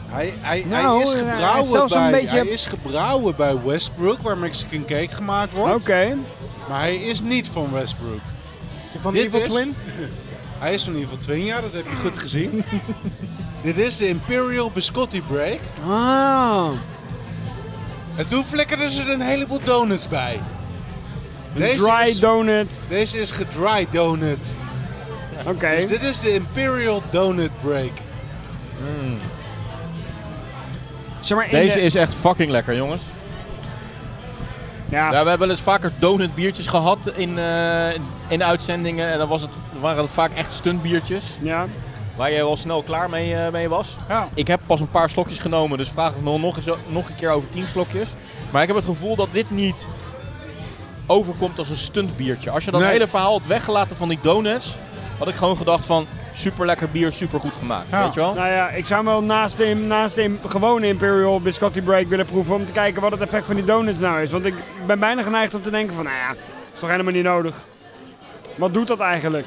S6: Hij, hij,
S5: Nou,
S6: hij is
S5: hij is
S6: gebrouwen
S5: zelfs een
S6: bij,
S5: beetje-
S6: hij is gebrouwen bij Westbrook, waar Mexican cake gemaakt wordt.
S5: Oké.
S6: Maar hij is niet van Westbrook.
S7: Van
S6: Dit
S7: Evil
S6: is-
S7: Twin.
S6: Hij is van in ieder geval twee jaar, dat heb je goed gezien. Dit is de Imperial Biscotti Break.
S5: Ah.
S6: En toen flikkerden ze er een heleboel donuts bij. Deze
S5: Dry
S6: is,
S5: donut.
S6: Deze is gedry donut.
S5: Oké.
S6: Dus dit is de Imperial Donut Break.
S5: Zeg maar in
S1: Deze
S5: de-
S1: is echt fucking lekker jongens.
S5: Ja.
S6: Ah.
S1: Ja, we hebben wel eens vaker donutbiertjes gehad in, eh, in de uitzendingen. En dan was het, waren het vaak echt stuntbiertjes.
S5: ja.
S1: Waar jij wel snel klaar mee, eh, mee was.
S6: Ja.
S1: Ik heb pas een paar slokjes genomen, dus vraag het me nog, eens, nog een keer over 10 slokjes. Maar ik heb het gevoel dat dit niet overkomt als een stuntbiertje. Als je dat
S6: Nee.
S1: hele verhaal had weggelaten van die donuts, had ik gewoon gedacht van... Super lekker bier, super goed gemaakt.
S6: Ja.
S1: Weet je wel?
S5: Nou ja, ik zou hem wel naast de, naast de im- gewone Imperial Biscotti Break willen proeven om te kijken wat het effect van die donuts nou is. Want ik ben bijna geneigd om te denken van, nou ja, is toch helemaal niet nodig. Wat doet dat eigenlijk?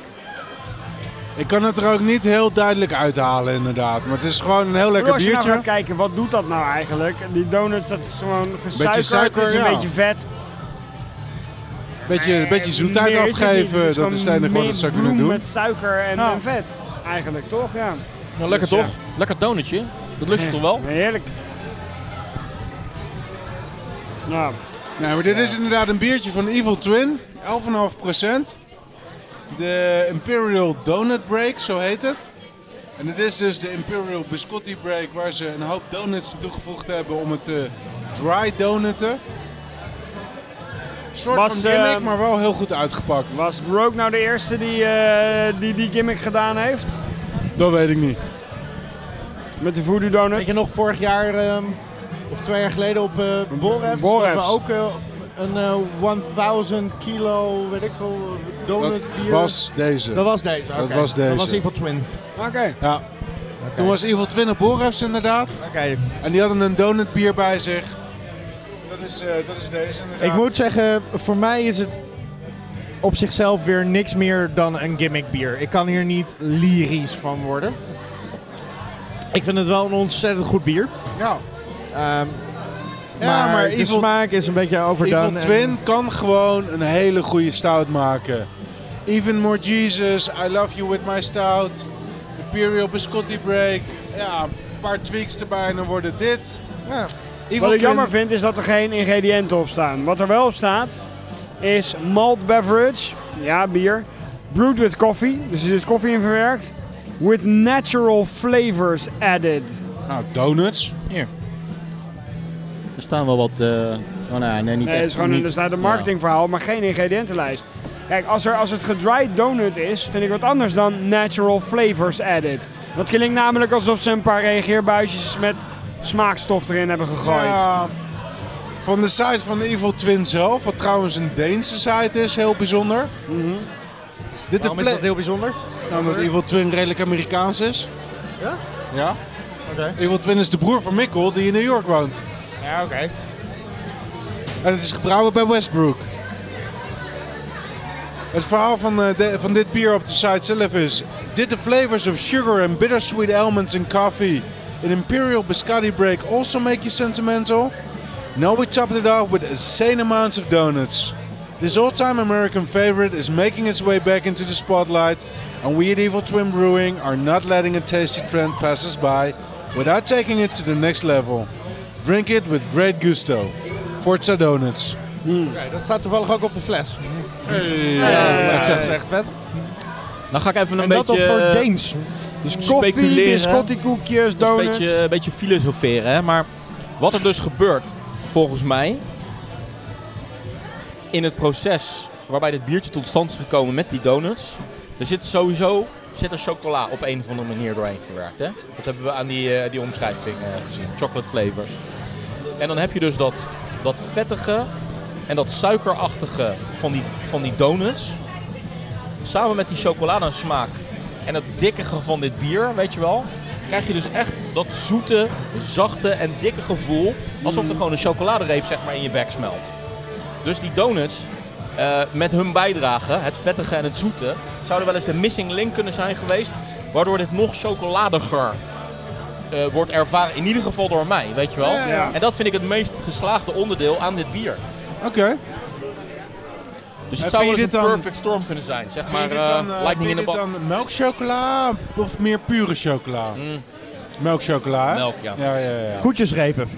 S6: Ik kan het er ook niet heel duidelijk uithalen, inderdaad. Maar het is gewoon een heel lekker
S5: als je nou
S6: biertje.
S5: gaat kijken, wat doet dat nou eigenlijk? Die donuts, dat is gewoon gesuikerd,
S6: Beetje suiker,
S5: het is een
S6: ja.
S5: beetje vet.
S6: Beetje, een beetje zoetheid
S5: Meer is het niet. Het
S6: afgeven. Dat
S5: gewoon
S6: is het enige wat
S5: meer
S6: het zou
S5: bloem
S6: kunnen doen.
S5: met suiker en,
S6: Ja.
S5: en vet. Eigenlijk toch, ja.
S1: Nou, lekker
S5: Dus ja.
S1: toch? Lekker donutje. Dat lust je toch wel?
S5: Heerlijk. Nou,
S6: Nee, maar dit is inderdaad een biertje van Evil Twin. 11,5%. De Imperial Donut Break, zo heet het. En het is dus de Imperial Biscotti Break waar ze een hoop donuts toegevoegd hebben om het te dry donutten. Een soort
S5: Was,
S6: van gimmick,
S5: eh,
S6: maar wel heel goed uitgepakt.
S5: was Rogue nou de eerste die, eh, die die gimmick gedaan heeft?
S6: Dat weet ik niet.
S5: Met de voodoo donut?
S7: Weet je nog, vorig jaar ehm, of twee jaar geleden op eh Boref,
S5: Borefs.
S7: we ook eh, een eh, 1000 kilo, weet ik veel, donut
S6: Dat
S7: bier.
S6: was deze.
S7: dat was deze, oké.
S6: Dat was deze.
S7: Dat was in ieder geval Twin.
S5: Oké.
S6: Ja. Toen was Evil Twin op Borefs inderdaad.
S7: Oké.
S6: En die hadden een donutbier bij zich. Dat is, eh, dat is deze inderdaad.
S7: Ik moet zeggen, voor mij is het op zichzelf weer niks meer dan een gimmick bier. Ik kan hier niet lyrisch van worden. Ik vind het wel een ontzettend goed bier.
S6: Ja. Ja,
S7: Ehm, maar,
S6: maar
S7: de
S6: Evil-
S7: smaak is een beetje overdone.
S6: Evil
S7: en-
S6: Twin kan gewoon een hele goede stout maken. Even More Jesus, I Love You With My Stout, Imperial Biscotti Break. Ja, een paar tweaks erbij en dan worden dit.
S7: Ja.
S6: Evil
S5: Wat ik
S6: Twin-
S5: jammer vind is dat er geen ingrediënten op staan. Wat er wel op staat is malt beverage, ja bier, brewed with coffee, dus er zit koffie in verwerkt, with natural flavors added.
S6: Nou, donuts.
S1: Hier. Er staan wel wat... eh, oh, nee, nee, niet
S5: Nee,
S1: echt.
S5: het is gewoon een,
S1: niet-
S5: er staat een
S1: ja.
S5: marketingverhaal, maar geen ingrediëntenlijst. Kijk, als, er, als het gedried donut is, vind ik wat anders dan natural flavors added. Dat klinkt namelijk alsof ze een paar reageerbuisjes met smaakstof erin hebben gegooid.
S6: Ja, van de site van Evil Twin zelf, wat trouwens een Deense site is, heel bijzonder. Dit
S7: Mhm. Waarom is
S6: fle-
S7: dat heel bijzonder?
S6: Nou, omdat Evil Twin redelijk Amerikaans is.
S7: Ja?
S6: Ja.
S7: Oké.
S6: Evil Twin is de broer van Mikkel die in New York woont.
S7: Ja, oké.
S6: En het is gebrouwen bij Westbrook. Het verhaal van, eh, de- van dit bier op de site zelf is... Did the flavors of sugar and bittersweet almonds in coffee in Imperial Biscotti Break also make you sentimental? Now we topped it off with insane amounts of donuts. This all-time American favorite is making its way back into the spotlight, and we at Evil Twin Brewing are not letting a tasty trend pass us by without taking it to the next level. Drink it with great gusto. Forza Donuts.
S7: Oké, Dat staat toevallig ook op de fles.
S1: ik
S7: Ja,
S1: zeg-
S7: dat is echt vet.
S1: Dan ga ik even een
S7: En
S1: beetje...
S7: dat op voor
S1: eh,
S7: Deens.
S1: Dus
S5: Koffie,
S1: speculeren.
S5: biscottikoekjes,
S1: Dat is
S5: donuts.
S1: een beetje, eh, een beetje filosoferen, hè? maar wat er dus gebeurt, volgens mij, in het proces waarbij dit biertje tot stand is gekomen met die donuts, er zit sowieso zit er chocola op een of andere manier doorheen verwerkt. Hè? Dat hebben we aan die, eh, die omschrijving eh, gezien, chocolate flavors. En dan heb je dus dat, dat vettige en dat suikerachtige van die, van die donuts, samen met die chocoladesmaak en het dikkige van dit bier, weet je wel, krijg je dus echt dat zoete, zachte en dikke gevoel. Alsof er gewoon een chocoladereep zeg maar, in je bek smelt. Dus die donuts, eh, met hun bijdrage, het vettige en het zoete, zouden wel eens de missing link kunnen zijn geweest. Waardoor dit nog chocoladiger eh, wordt ervaren. In ieder geval door mij, weet je wel.
S6: Ja, ja.
S1: En dat vind ik het meest geslaagde onderdeel aan dit bier.
S6: Oké.
S1: Dus
S6: En
S1: het zou
S6: vind
S1: wel
S6: je
S1: eens een
S6: dit dan-
S1: perfect storm kunnen zijn. Zeg maar
S6: Vind je
S1: eh,
S6: dit dan, eh, vind
S1: lightning
S6: je
S1: in de bal.
S6: dit dan melkchocola of meer pure chocola?
S1: Mm.
S6: Melkchocola, hè?
S1: Melk, ja.
S6: Ja, ja, ja.
S7: Koetjesrepen.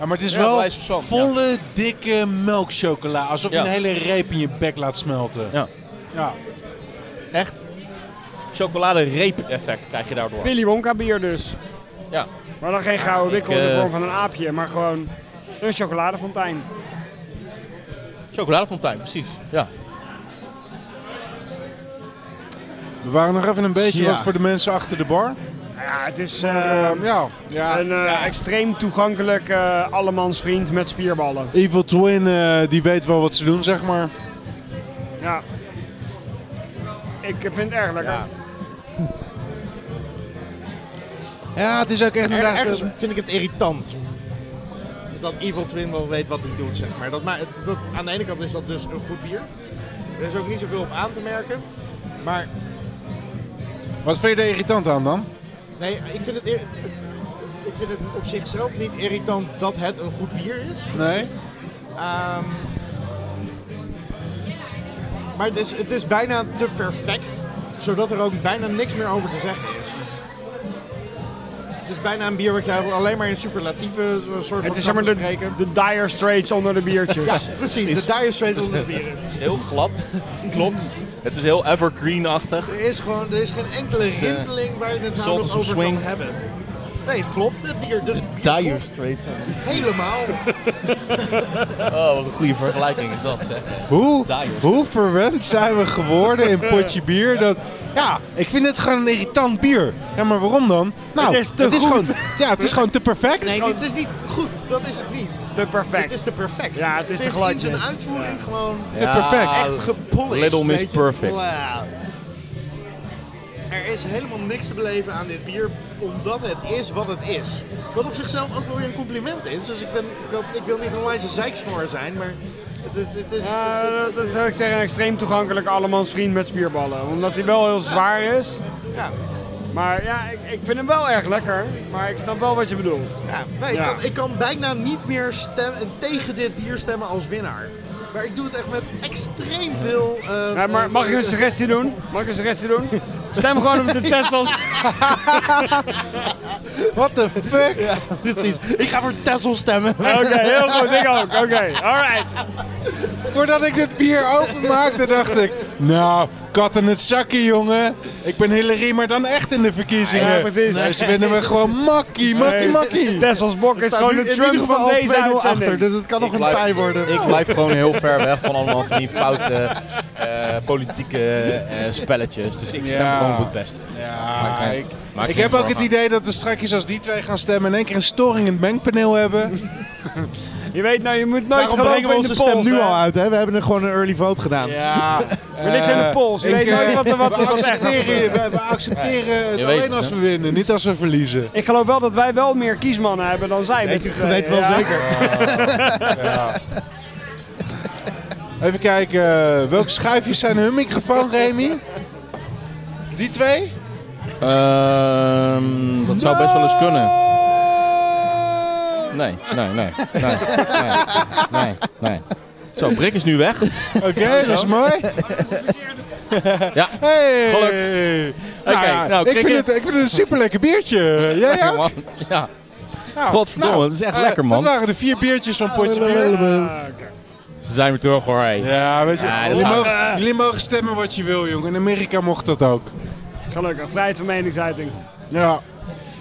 S6: Ja, maar het is
S1: Ja, bij
S6: wel
S1: wijze van zand, ja.
S6: volle, dikke melkchocola. Alsof
S1: Ja.
S6: je een hele reep in je bek laat smelten.
S1: Ja.
S6: Ja.
S1: Echt. Chocoladereep-effect krijg je daardoor.
S5: Willy Wonka bier dus.
S1: Ja.
S5: Maar dan geen gouden wikkel in de
S1: eh,
S5: vorm van een aapje, maar gewoon een chocoladefontein.
S1: Chocoladefontein, precies. Ja.
S6: We waren nog even een beetje
S7: Ja.
S6: wat voor de mensen achter de bar.
S5: Ja, het is eh,
S6: Ehm, ja. ja.
S5: een eh, extreem toegankelijk eh allemansvriend met spierballen.
S6: Evil Twin, eh, die weet wel wat ze doen, zeg maar.
S5: Ja. Ik vind het erg lekker.
S6: Ja, het is ook echt
S7: Er-
S6: inderdaad... dus-
S7: ergens vind ik het irritant. Dat Evil Twin wel weet wat hij doet, zeg maar. Dat, ma- het- dat, aan de ene kant is dat dus een goed bier. Er is ook niet zoveel op aan te merken. Maar
S6: Wat vind je er irritant aan dan?
S7: nee, ik vind het, ir- ik vind het op zichzelf niet irritant dat het een goed bier is.
S6: Nee?
S7: Ehm, maar het is, het is bijna te perfect, zodat er ook bijna niks meer over te zeggen is. Het is bijna een bier wat je alleen maar in superlatieve soort van
S5: Het
S7: kan
S5: is zeg maar de,
S7: bespreken.
S5: de dire straits onder de biertjes.
S7: Precies, de Dire Straits onder de bieren. Dus
S1: Het is heel glad. Klopt. Het is heel evergreen-achtig.
S7: Er is gewoon er is geen enkele
S1: eh,
S7: rimpeling waar je het nou
S1: Salt
S7: nog
S1: of
S7: over
S1: Swing.
S7: kan hebben. Nee, het klopt. Het bier, dus het bier
S1: Dire
S7: klopt
S1: Straits.
S7: helemaal.
S1: Oh, wat een goede vergelijking is dat, zeg.
S6: Hoe,
S1: Dire.
S6: hoe verwend zijn we geworden in potje bier? Dat, ja, ik vind het gewoon een irritant bier. Ja, maar waarom dan? Nou,
S5: Het is te goed.
S6: gewoon, ja, het is gewoon te perfect.
S7: Nee, het is niet goed. Dat is het niet.
S5: te perfect.
S7: Het is te perfect.
S5: Ja, het is te
S7: in zijn
S5: gladjes.
S7: uitvoering gewoon
S6: Te perfect.
S7: echt gepolished.
S1: Little Miss
S7: weet je.
S1: Perfect.
S7: Bla. Er is helemaal niks te beleven aan dit bier, omdat het is wat het is. Wat op zichzelf ook wel weer een compliment is. Dus ik, ben, ik, hoop- ik wil niet een wijze zeiksnor zijn, maar het, het, het is... het-
S5: Ja, dat- Eh, dat zou ik zeggen, een extreem toegankelijk allemansvriend met spierballen. Omdat hij wel heel zwaar is.
S7: ja.
S5: Maar ja, ik, ik vind hem wel erg lekker. Maar ik snap wel wat je bedoelt.
S7: Ja, nee,
S5: Ja.
S7: Ik, kan, ik kan bijna niet meer stem, tegen dit bier stemmen als winnaar. Maar ik doe het echt met extreem veel... eh,
S5: Ja, maar mag ik een suggestie doen? Mag ik een suggestie doen? Stem gewoon op de testels.
S6: What the fuck?
S7: Precies. Ik ga voor Tessel stemmen.
S5: Oké, heel goed. Ik ook. Oké, alright.
S6: Voordat ik dit bier openmaakte, dacht ik... Nou, kat in het zakje, jongen. Ik ben Hillary, maar dan echt in de verkiezingen.
S5: Ja, precies.
S6: Nee, ze winnen we gewoon makkie, makkie, makkie.
S5: Tessels Bok is
S7: Het staat
S5: gewoon
S7: nu
S5: de
S7: in
S5: Trump
S7: ieder
S5: van
S7: geval al
S5: deze
S7: 2-0
S5: uitzending.
S7: achter, dus het kan nog een pij worden.
S1: Ik blijf gewoon heel ver weg van allemaal van die foute eh, politieke eh, spelletjes. Dus ik stem
S6: Ja.
S1: gewoon op het beste. Maak
S6: Ja,
S1: geen-
S6: ik,
S1: maak
S6: ik
S1: geen
S6: heb ook het
S1: zorgen.
S6: idee dat we straks als die twee gaan stemmen... in één keer een storing in het mengpaneel hebben.
S5: Je weet nou, je moet nooit
S7: Daarom brengen we
S5: geloven in de
S7: onze stem
S5: polls.
S7: nu
S5: hè?
S7: al uit. Eh, Hè? We hebben er gewoon een early vote gedaan.
S6: Ja,
S5: Maar dit zijn de polls. Je weet nooit wat er wat
S6: we
S5: er wat echt gaat
S6: accepteren, we, we accepteren het
S1: weet
S6: alleen
S1: het,
S6: als
S1: hè?
S6: we winnen, niet als we verliezen.
S5: Ik geloof wel dat wij wel meer kiesmannen hebben dan zij. met
S7: Ik
S5: z'n
S7: weet
S5: tweeën,
S7: wel
S5: ja.
S7: zeker.
S6: Even kijken, eh, welke schuifjes zijn hun microfoon, Remy? Die twee?
S1: Ehm, dat zou best wel eens kunnen. Nee, nee, nee. Nee, nee, nee. nee. Zo, Brik is nu weg.
S6: Oké, dat is mooi.
S1: Ja.
S6: Hey.
S1: Gelukt.
S6: Nou,
S1: Oké,
S6: ja,
S1: nou,
S6: ik,
S1: klik
S6: vind
S1: in.
S6: het, ik vind het een super lekker biertje. Ja, ja?
S1: Ja, man. Ja.
S6: Nou,
S1: Godverdomme,
S6: nou,
S1: het is echt
S6: eh,
S1: lekker, man.
S6: Dat waren de vier biertjes van Potje Bier.
S1: Ze zijn weer terug hoor. hey.
S6: Ja, weet je,
S1: Ja, dat
S6: jullie,
S1: gaat.
S6: mogen, jullie mogen stemmen wat je wil, jongen. In Amerika mocht dat ook.
S5: Gelukkig, vrijheid van meningsuiting.
S6: Ja.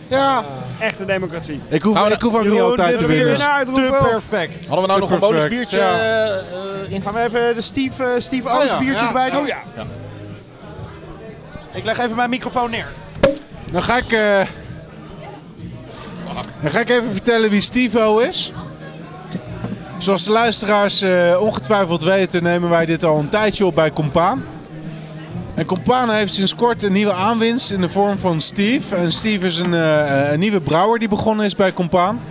S6: Ja,
S5: Echte democratie.
S6: ik hoef, ik hoef ook niet altijd te
S5: Weer
S6: winnen.
S5: naar uitroepen.
S7: Te
S5: of-
S7: perfect.
S1: Hadden we nou nog een
S6: Perfect,
S1: bonus biertje
S6: ja.
S1: eh, eh, in?
S7: Gaan we even de Steve, eh, Steve
S6: Oh
S7: Owens
S6: ja,
S7: biertje
S6: ja.
S7: erbij doen?
S6: Oh
S7: ja. Ik leg even mijn microfoon neer.
S6: Dan ga ik. eh, dan ga ik even vertellen wie Stevo is. Zoals de luisteraars eh, ongetwijfeld weten, nemen wij dit al een tijdje op bij Compaan. En Compaan heeft sinds kort een nieuwe aanwinst in de vorm van Steve. En Steve is een, eh, een nieuwe brouwer die begonnen is bij Compaan.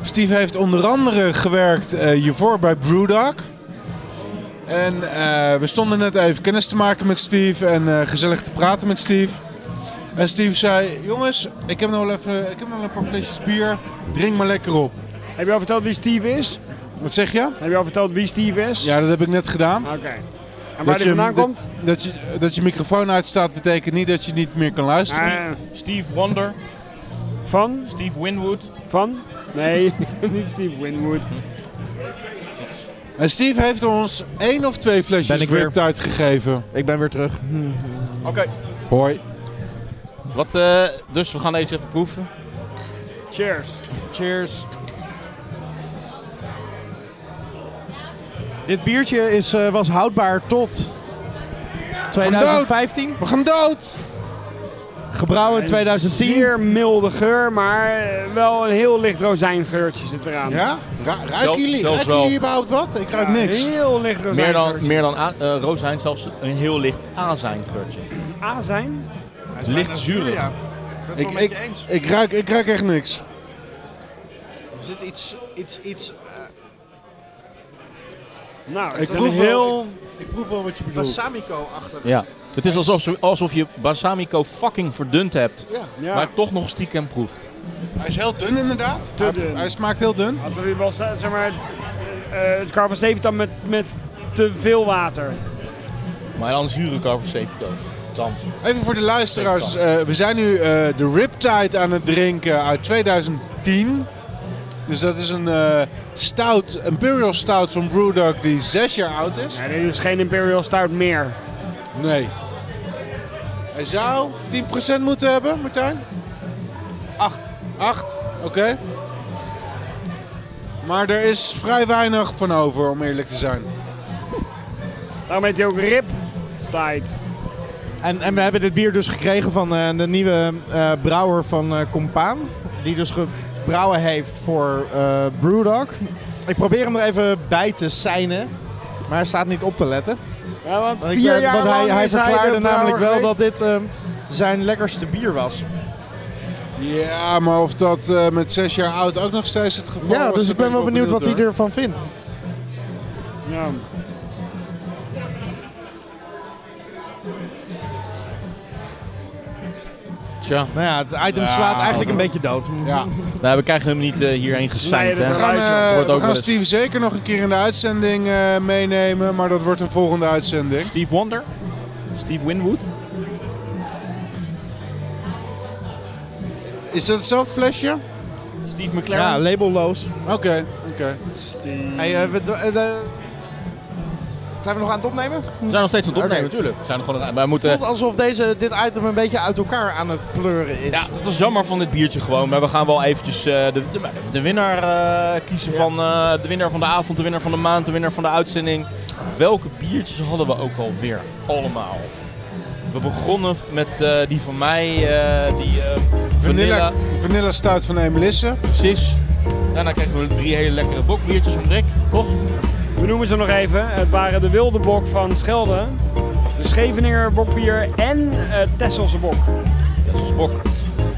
S6: Steve heeft onder andere gewerkt eh, hiervoor bij Brewdog. En eh, we stonden net even kennis te maken met Steve en eh, gezellig te praten met Steve. En Steve zei: Jongens, ik heb nog wel even ik heb nog wel een paar flesjes bier. Drink maar lekker op.
S5: Heb je al verteld wie Steve is?
S6: Wat zeg je?
S5: Heb je al verteld wie Steve is?
S6: Ja, dat heb ik net gedaan.
S5: Oké. En waar die vandaan
S6: dat-
S5: komt?
S6: Dat je, dat je microfoon uitstaat betekent niet dat je niet meer kan luisteren.
S5: Eh,
S1: Steve Wonder,
S5: van?
S1: Steve Winwood.
S5: Van? Nee, niet Steve Winwood.
S6: En Steve heeft ons één of twee
S7: Ben
S6: flesjes
S7: ik weer.
S6: Riptide gegeven.
S7: Ik ben weer terug.
S1: Oké.
S6: Hoi.
S1: Wat, eh, dus we gaan deze even proeven.
S5: Cheers.
S7: Cheers. Dit biertje is, eh, was houdbaar tot 2015.
S6: We gaan dood!
S7: Gebrouwen in 2010.
S5: Zeer milde geur, maar eh, wel een heel licht rozijngeurtje zit eraan.
S6: Ja? Ra- ruiken
S1: Zelf-
S6: jullie,
S1: zelfs
S6: ruiken
S1: wel.
S6: jullie überhaupt wat? Ik ruik
S5: Ja,
S6: niks.
S5: Heel licht rozijngeurtje.
S1: Meer dan, meer dan a- eh, rozijn, zelfs een heel licht azijn geurtje.
S5: A zijn?
S1: Licht zuurig.
S7: Ja, dat ben het
S6: Ik,
S7: wel met
S6: ik,
S7: je eens.
S6: ik, ruik, ik ruik echt niks.
S7: Er zit iets, iets, iets eh,
S5: Nou,
S6: Ik
S5: het is een
S6: proef wel-
S5: heel...
S6: Ik proef wel wat je bedoelt.
S7: balsamico-achtig.
S1: Ja. Het is alsof, ze- alsof je balsamico fucking verdund hebt,
S7: Ja.
S5: Ja.
S1: maar toch nog stiekem proeft.
S6: Hij is heel dun inderdaad.
S5: Te
S6: hij,
S5: dun.
S6: hij smaakt heel dun.
S5: Als we wel zeg maar, eh, het carbocevitan met, met te veel water.
S1: Maar dan zuur ik over 70 Dan.
S6: Even voor de luisteraars. eh, we zijn nu eh, de Riptide aan het drinken uit 2010. Dus dat is een eh, stout, Imperial Stout van Brewdog die zes jaar oud is.
S5: Ja, dit is geen Imperial Stout meer.
S6: Nee. Hij zou 10% moeten hebben, Martijn? 8. 8, oké. Maar er is vrij weinig van over, om eerlijk te zijn.
S5: Daarom heet hij ook Rip Tijd.
S7: En, en we hebben dit bier dus gekregen van eh, de nieuwe eh, brouwer van eh, Compaan. Die dus gebrouwen heeft voor eh Brewdog. Ik probeer hem er even bij te seinen. Maar hij staat niet op te letten.
S5: Ja, want
S7: Want ik
S5: vier
S7: ben-
S5: jaar
S7: want hij,
S5: lang
S7: hij
S5: is de
S7: verklaarde
S5: brouwer
S7: namelijk wel
S5: geweest.
S7: dat dit eh, zijn lekkerste bier was.
S6: Ja, maar of dat eh, met zes jaar oud ook nog steeds het geval
S7: ja,
S6: was,
S7: dus
S6: daar
S7: ik ben
S6: ik
S7: wel benieuwd wat hij
S6: hoor.
S7: ervan vindt.
S5: Ja.
S1: Tja,
S7: Nou ja, het item
S6: Ja.
S7: slaat eigenlijk een beetje dood.
S6: Ja.
S1: nou, we krijgen hem niet eh, hierheen gesijnd.
S5: Nee, dat
S6: We
S1: hè.
S6: gaan,
S5: Geluidje,
S6: eh,
S1: wordt ook
S6: we
S1: wel
S6: gaan
S1: eens.
S6: Steve zeker nog een keer in de uitzending eh, meenemen, maar dat wordt een volgende uitzending.
S1: Steve Wonder? Steve Winwood?
S6: Is dat hetzelfde flesje?
S1: Steve McLaren?
S7: Ja, labelloos.
S6: Oké, oké.
S7: Hey, eh, we, eh, de- zijn we nog aan het opnemen?
S1: we zijn nog steeds aan het opnemen,
S7: Oké.
S1: natuurlijk. We zijn nog gewoon aan- wij moeten...
S7: Het voelt alsof deze, dit item een beetje uit elkaar aan het pleuren is.
S1: Ja, dat is jammer van dit biertje gewoon. Maar we gaan wel eventjes eh, de, de, de winnaar eh, kiezen van eh, de winnaar van de avond, de winnaar van de maand, de winnaar van de uitzending. Welke biertjes hadden we ook alweer? Allemaal. We begonnen met eh, die van mij, eh, die eh vanilla.
S6: Vanilla, vanilla stout van Emelisse.
S1: Precies. Daarna kregen we drie hele lekkere bokbiertjes van Rick, toch?
S5: We noemen ze nog even. Het waren de wilde bok van Schelde, de Scheveninger bokbier en het Tesselse bok.
S1: Dat is bok.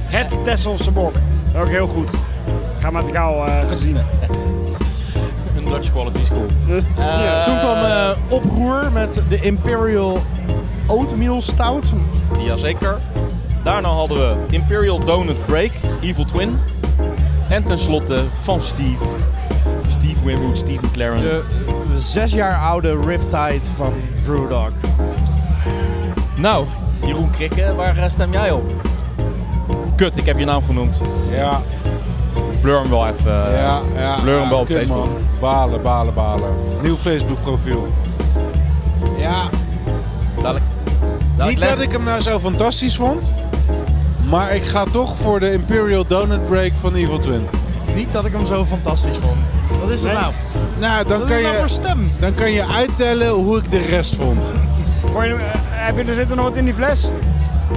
S5: Het Tesselse bok. Ook heel goed. Grammaticaal eh gezien.
S1: Een Dutch quality school. Eh,
S5: Ja.
S7: Toen kwam eh, oproer met de Imperial Oatmeal Stout.
S6: eh.
S1: Jazeker. Daarna hadden we Imperial Donut Break, Evil Twin. En tenslotte van Steve. Steve Winwood, Steve McLaren.
S7: De eh, zes jaar oude Riptide van Brewdog.
S1: Nou, Jeroen Krikke, waar eh, stem jij op? Kut, ik heb je naam genoemd.
S6: Ja,
S1: Blur hem wel even. eh.
S6: ja, ja.
S1: Blur hem
S6: ja,
S1: wel op
S6: kut,
S1: Facebook.
S6: man. Balen, balen, balen. Nieuw Facebook profiel. Ja,
S1: Dadelijk, dadelijk
S6: niet
S1: leg-
S6: dat ik hem nou zo fantastisch vond. Maar ik ga toch voor de Imperial Donut Break van Evil Twin.
S7: Niet dat ik hem zo fantastisch vond. Wat is het nou?
S6: Nou, dan
S7: Wat
S6: kan
S7: is het nou voor
S6: je,
S7: stem?
S6: dan kan je uittellen hoe ik de rest vond.
S5: Voor je, eh, heb je, er zit er nog wat in die fles?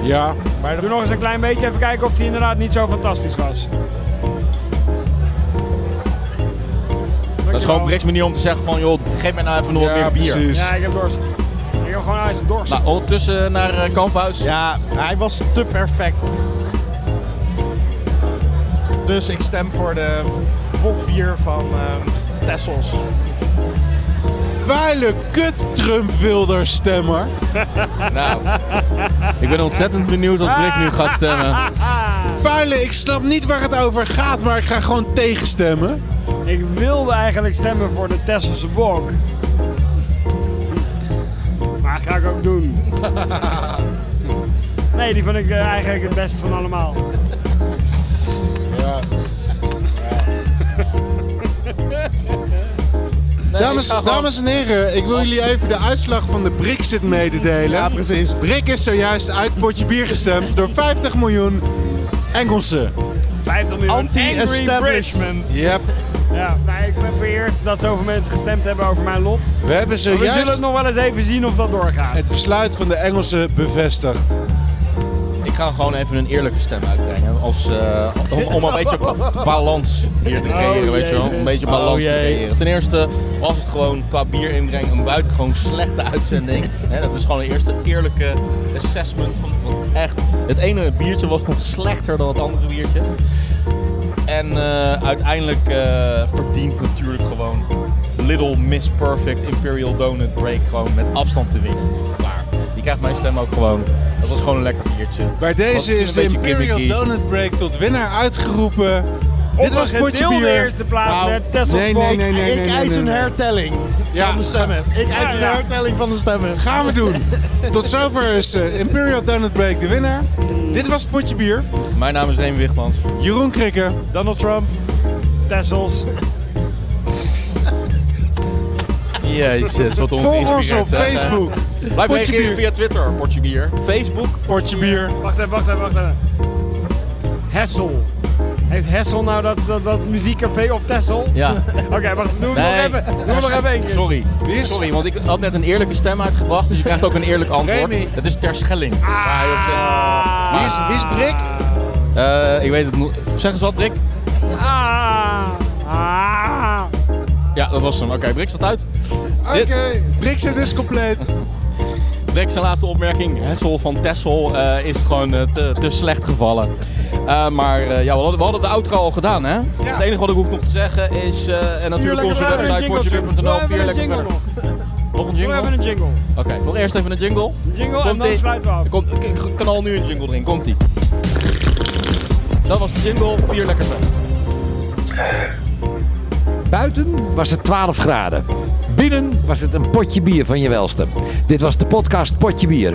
S6: Ja,
S5: Doe nog eens een klein beetje, even kijken of die inderdaad niet zo fantastisch was.
S1: Dat is gewoon Brix manier om te zeggen van joh, geef mij nou even nog wat
S6: ja
S1: meer bier.
S6: precies.
S5: Ja, ik heb dorst. Ik heb gewoon uit de dorst.
S1: Nou, ondertussen naar eh, Kamphuis.
S7: Ja, hij was te perfect. Dus ik stem voor de bokbier van ehm Tessels.
S6: Vuile kut Trump Wilders stemmer.
S1: Nou, ik ben ontzettend benieuwd wat Brik nu gaat stemmen.
S6: Vuile, ik snap niet waar het over gaat, maar ik ga gewoon tegenstemmen.
S1: Nou.
S5: Ik wilde eigenlijk stemmen voor de Tesselse bok. Maar dat ga ik ook doen. Nee, die vond ik eh, eigenlijk het best van allemaal.
S6: Dames, dames en heren, ik wil jullie even de uitslag van de Brexit mededelen. Ja, precies. Brik is zojuist uit potje bier gestemd door 50 miljoen Engelsen.
S5: 50 miljoen.
S7: Anti-establishment.
S6: Yep.
S5: Ja, maar ik ben vereerd dat zoveel mensen gestemd hebben over mijn lot. Maar
S6: We hebben
S5: we zullen
S6: zojuist
S5: het nog wel eens even zien of dat doorgaat.
S6: het besluit van de Engelsen bevestigd.
S1: Ik ga gewoon even een eerlijke stem uitbrengen. Als, eh, om, om een beetje balans hier te
S6: Oh,
S1: creëren, weet je wel. Een beetje balans te creëren. Ten eerste was het gewoon qua bier inbreng een buitengewoon slechte uitzending. Hè, dat is gewoon een eerste eerlijke assessment. Van, want echt, het ene biertje was nog slechter dan het andere biertje. En eh, uiteindelijk eh, verdient natuurlijk gewoon Little Miss Perfect Imperial Donut Break gewoon met afstand te winnen. Klaar. Die krijgt mijn stem ook gewoon. Dat was gewoon een lekker biertje.
S6: Bij
S1: Was
S6: deze
S1: misschien
S6: is
S1: een
S6: de
S1: beetje
S6: Imperial
S1: gimmicky.
S6: Donut Break tot winnaar uitgeroepen. Dit was Potje
S5: gedeelde
S6: Bier.
S5: eerste plaats
S1: Wauw.
S5: met Tessel
S6: Nee, nee, nee, nee, nee,
S7: Ik
S6: nee,
S7: eis
S6: nee,
S7: een
S6: nee.
S7: hertelling
S6: Ja,
S7: van de stemmen. Ik eis
S5: Ja,
S7: een
S5: ja.
S7: hertelling van de stemmen.
S6: gaan we doen. Tot zover is eh, Imperial Donut Break de winnaar. Dit was Potje Bier.
S1: Mijn naam is Reem Wichmans.
S6: Jeroen Krikke.
S7: Donald Trump.
S5: Tessels.
S1: Jezus, wat
S6: Volg ons op Facebook.
S1: Blijf
S6: Potje
S1: reageren
S6: Bier.
S1: via Twitter, Portje Bier. Facebook,
S6: Potje Bier.
S5: Wacht even, wacht even, wacht even. Hessel. Heeft Hessel nou dat, dat, dat muziekcafé op Tessel?
S1: ja.
S5: Oké, wacht, doe hem nog even. Doe hem nog even één keer.
S1: Sorry.
S6: Wie is-
S1: Sorry, want ik had net een eerlijke stem uitgebracht, dus je krijgt ook een eerlijk antwoord.
S6: Remy.
S1: Dat is Terschelling. Waar hij op zit.
S5: Ah.
S6: Wie is, wie is Brik?
S1: Eh, ik weet het nog. Zeg eens wat, Brik.
S5: Ah. Ah.
S1: Ja, dat was hem. Oké, Brik staat uit.
S6: Oké, Brik zit dus compleet.
S1: Brik zijn laatste opmerking. Hessel van Tessel eh, is gewoon eh, te, te slecht gevallen. Eh, maar eh, ja, we hadden, we hadden de outro al gedaan, hè? Het enige wat ik hoef nog te zeggen is... eh, en natuurlijk onze
S5: verder,
S1: website,
S5: jingle
S1: portjebier.nl.
S5: Doe even
S1: Vier
S5: een
S1: lekker
S5: jingle
S1: verder.
S5: nog.
S1: Nog een
S5: Doe
S1: jingle?
S5: even een jingle.
S1: Oké, nog eerst even een jingle.
S5: Jingle en dan
S1: Komt-ie.
S5: sluiten we af.
S1: Er Komt, ik, ik kan al nu een jingle erin. Komt-ie. Dat was de jingle. Vier lekker verder.
S10: Buiten was het 12 graden. Binnen was het een potje bier van je welste. Dit was de podcast Potje Bier.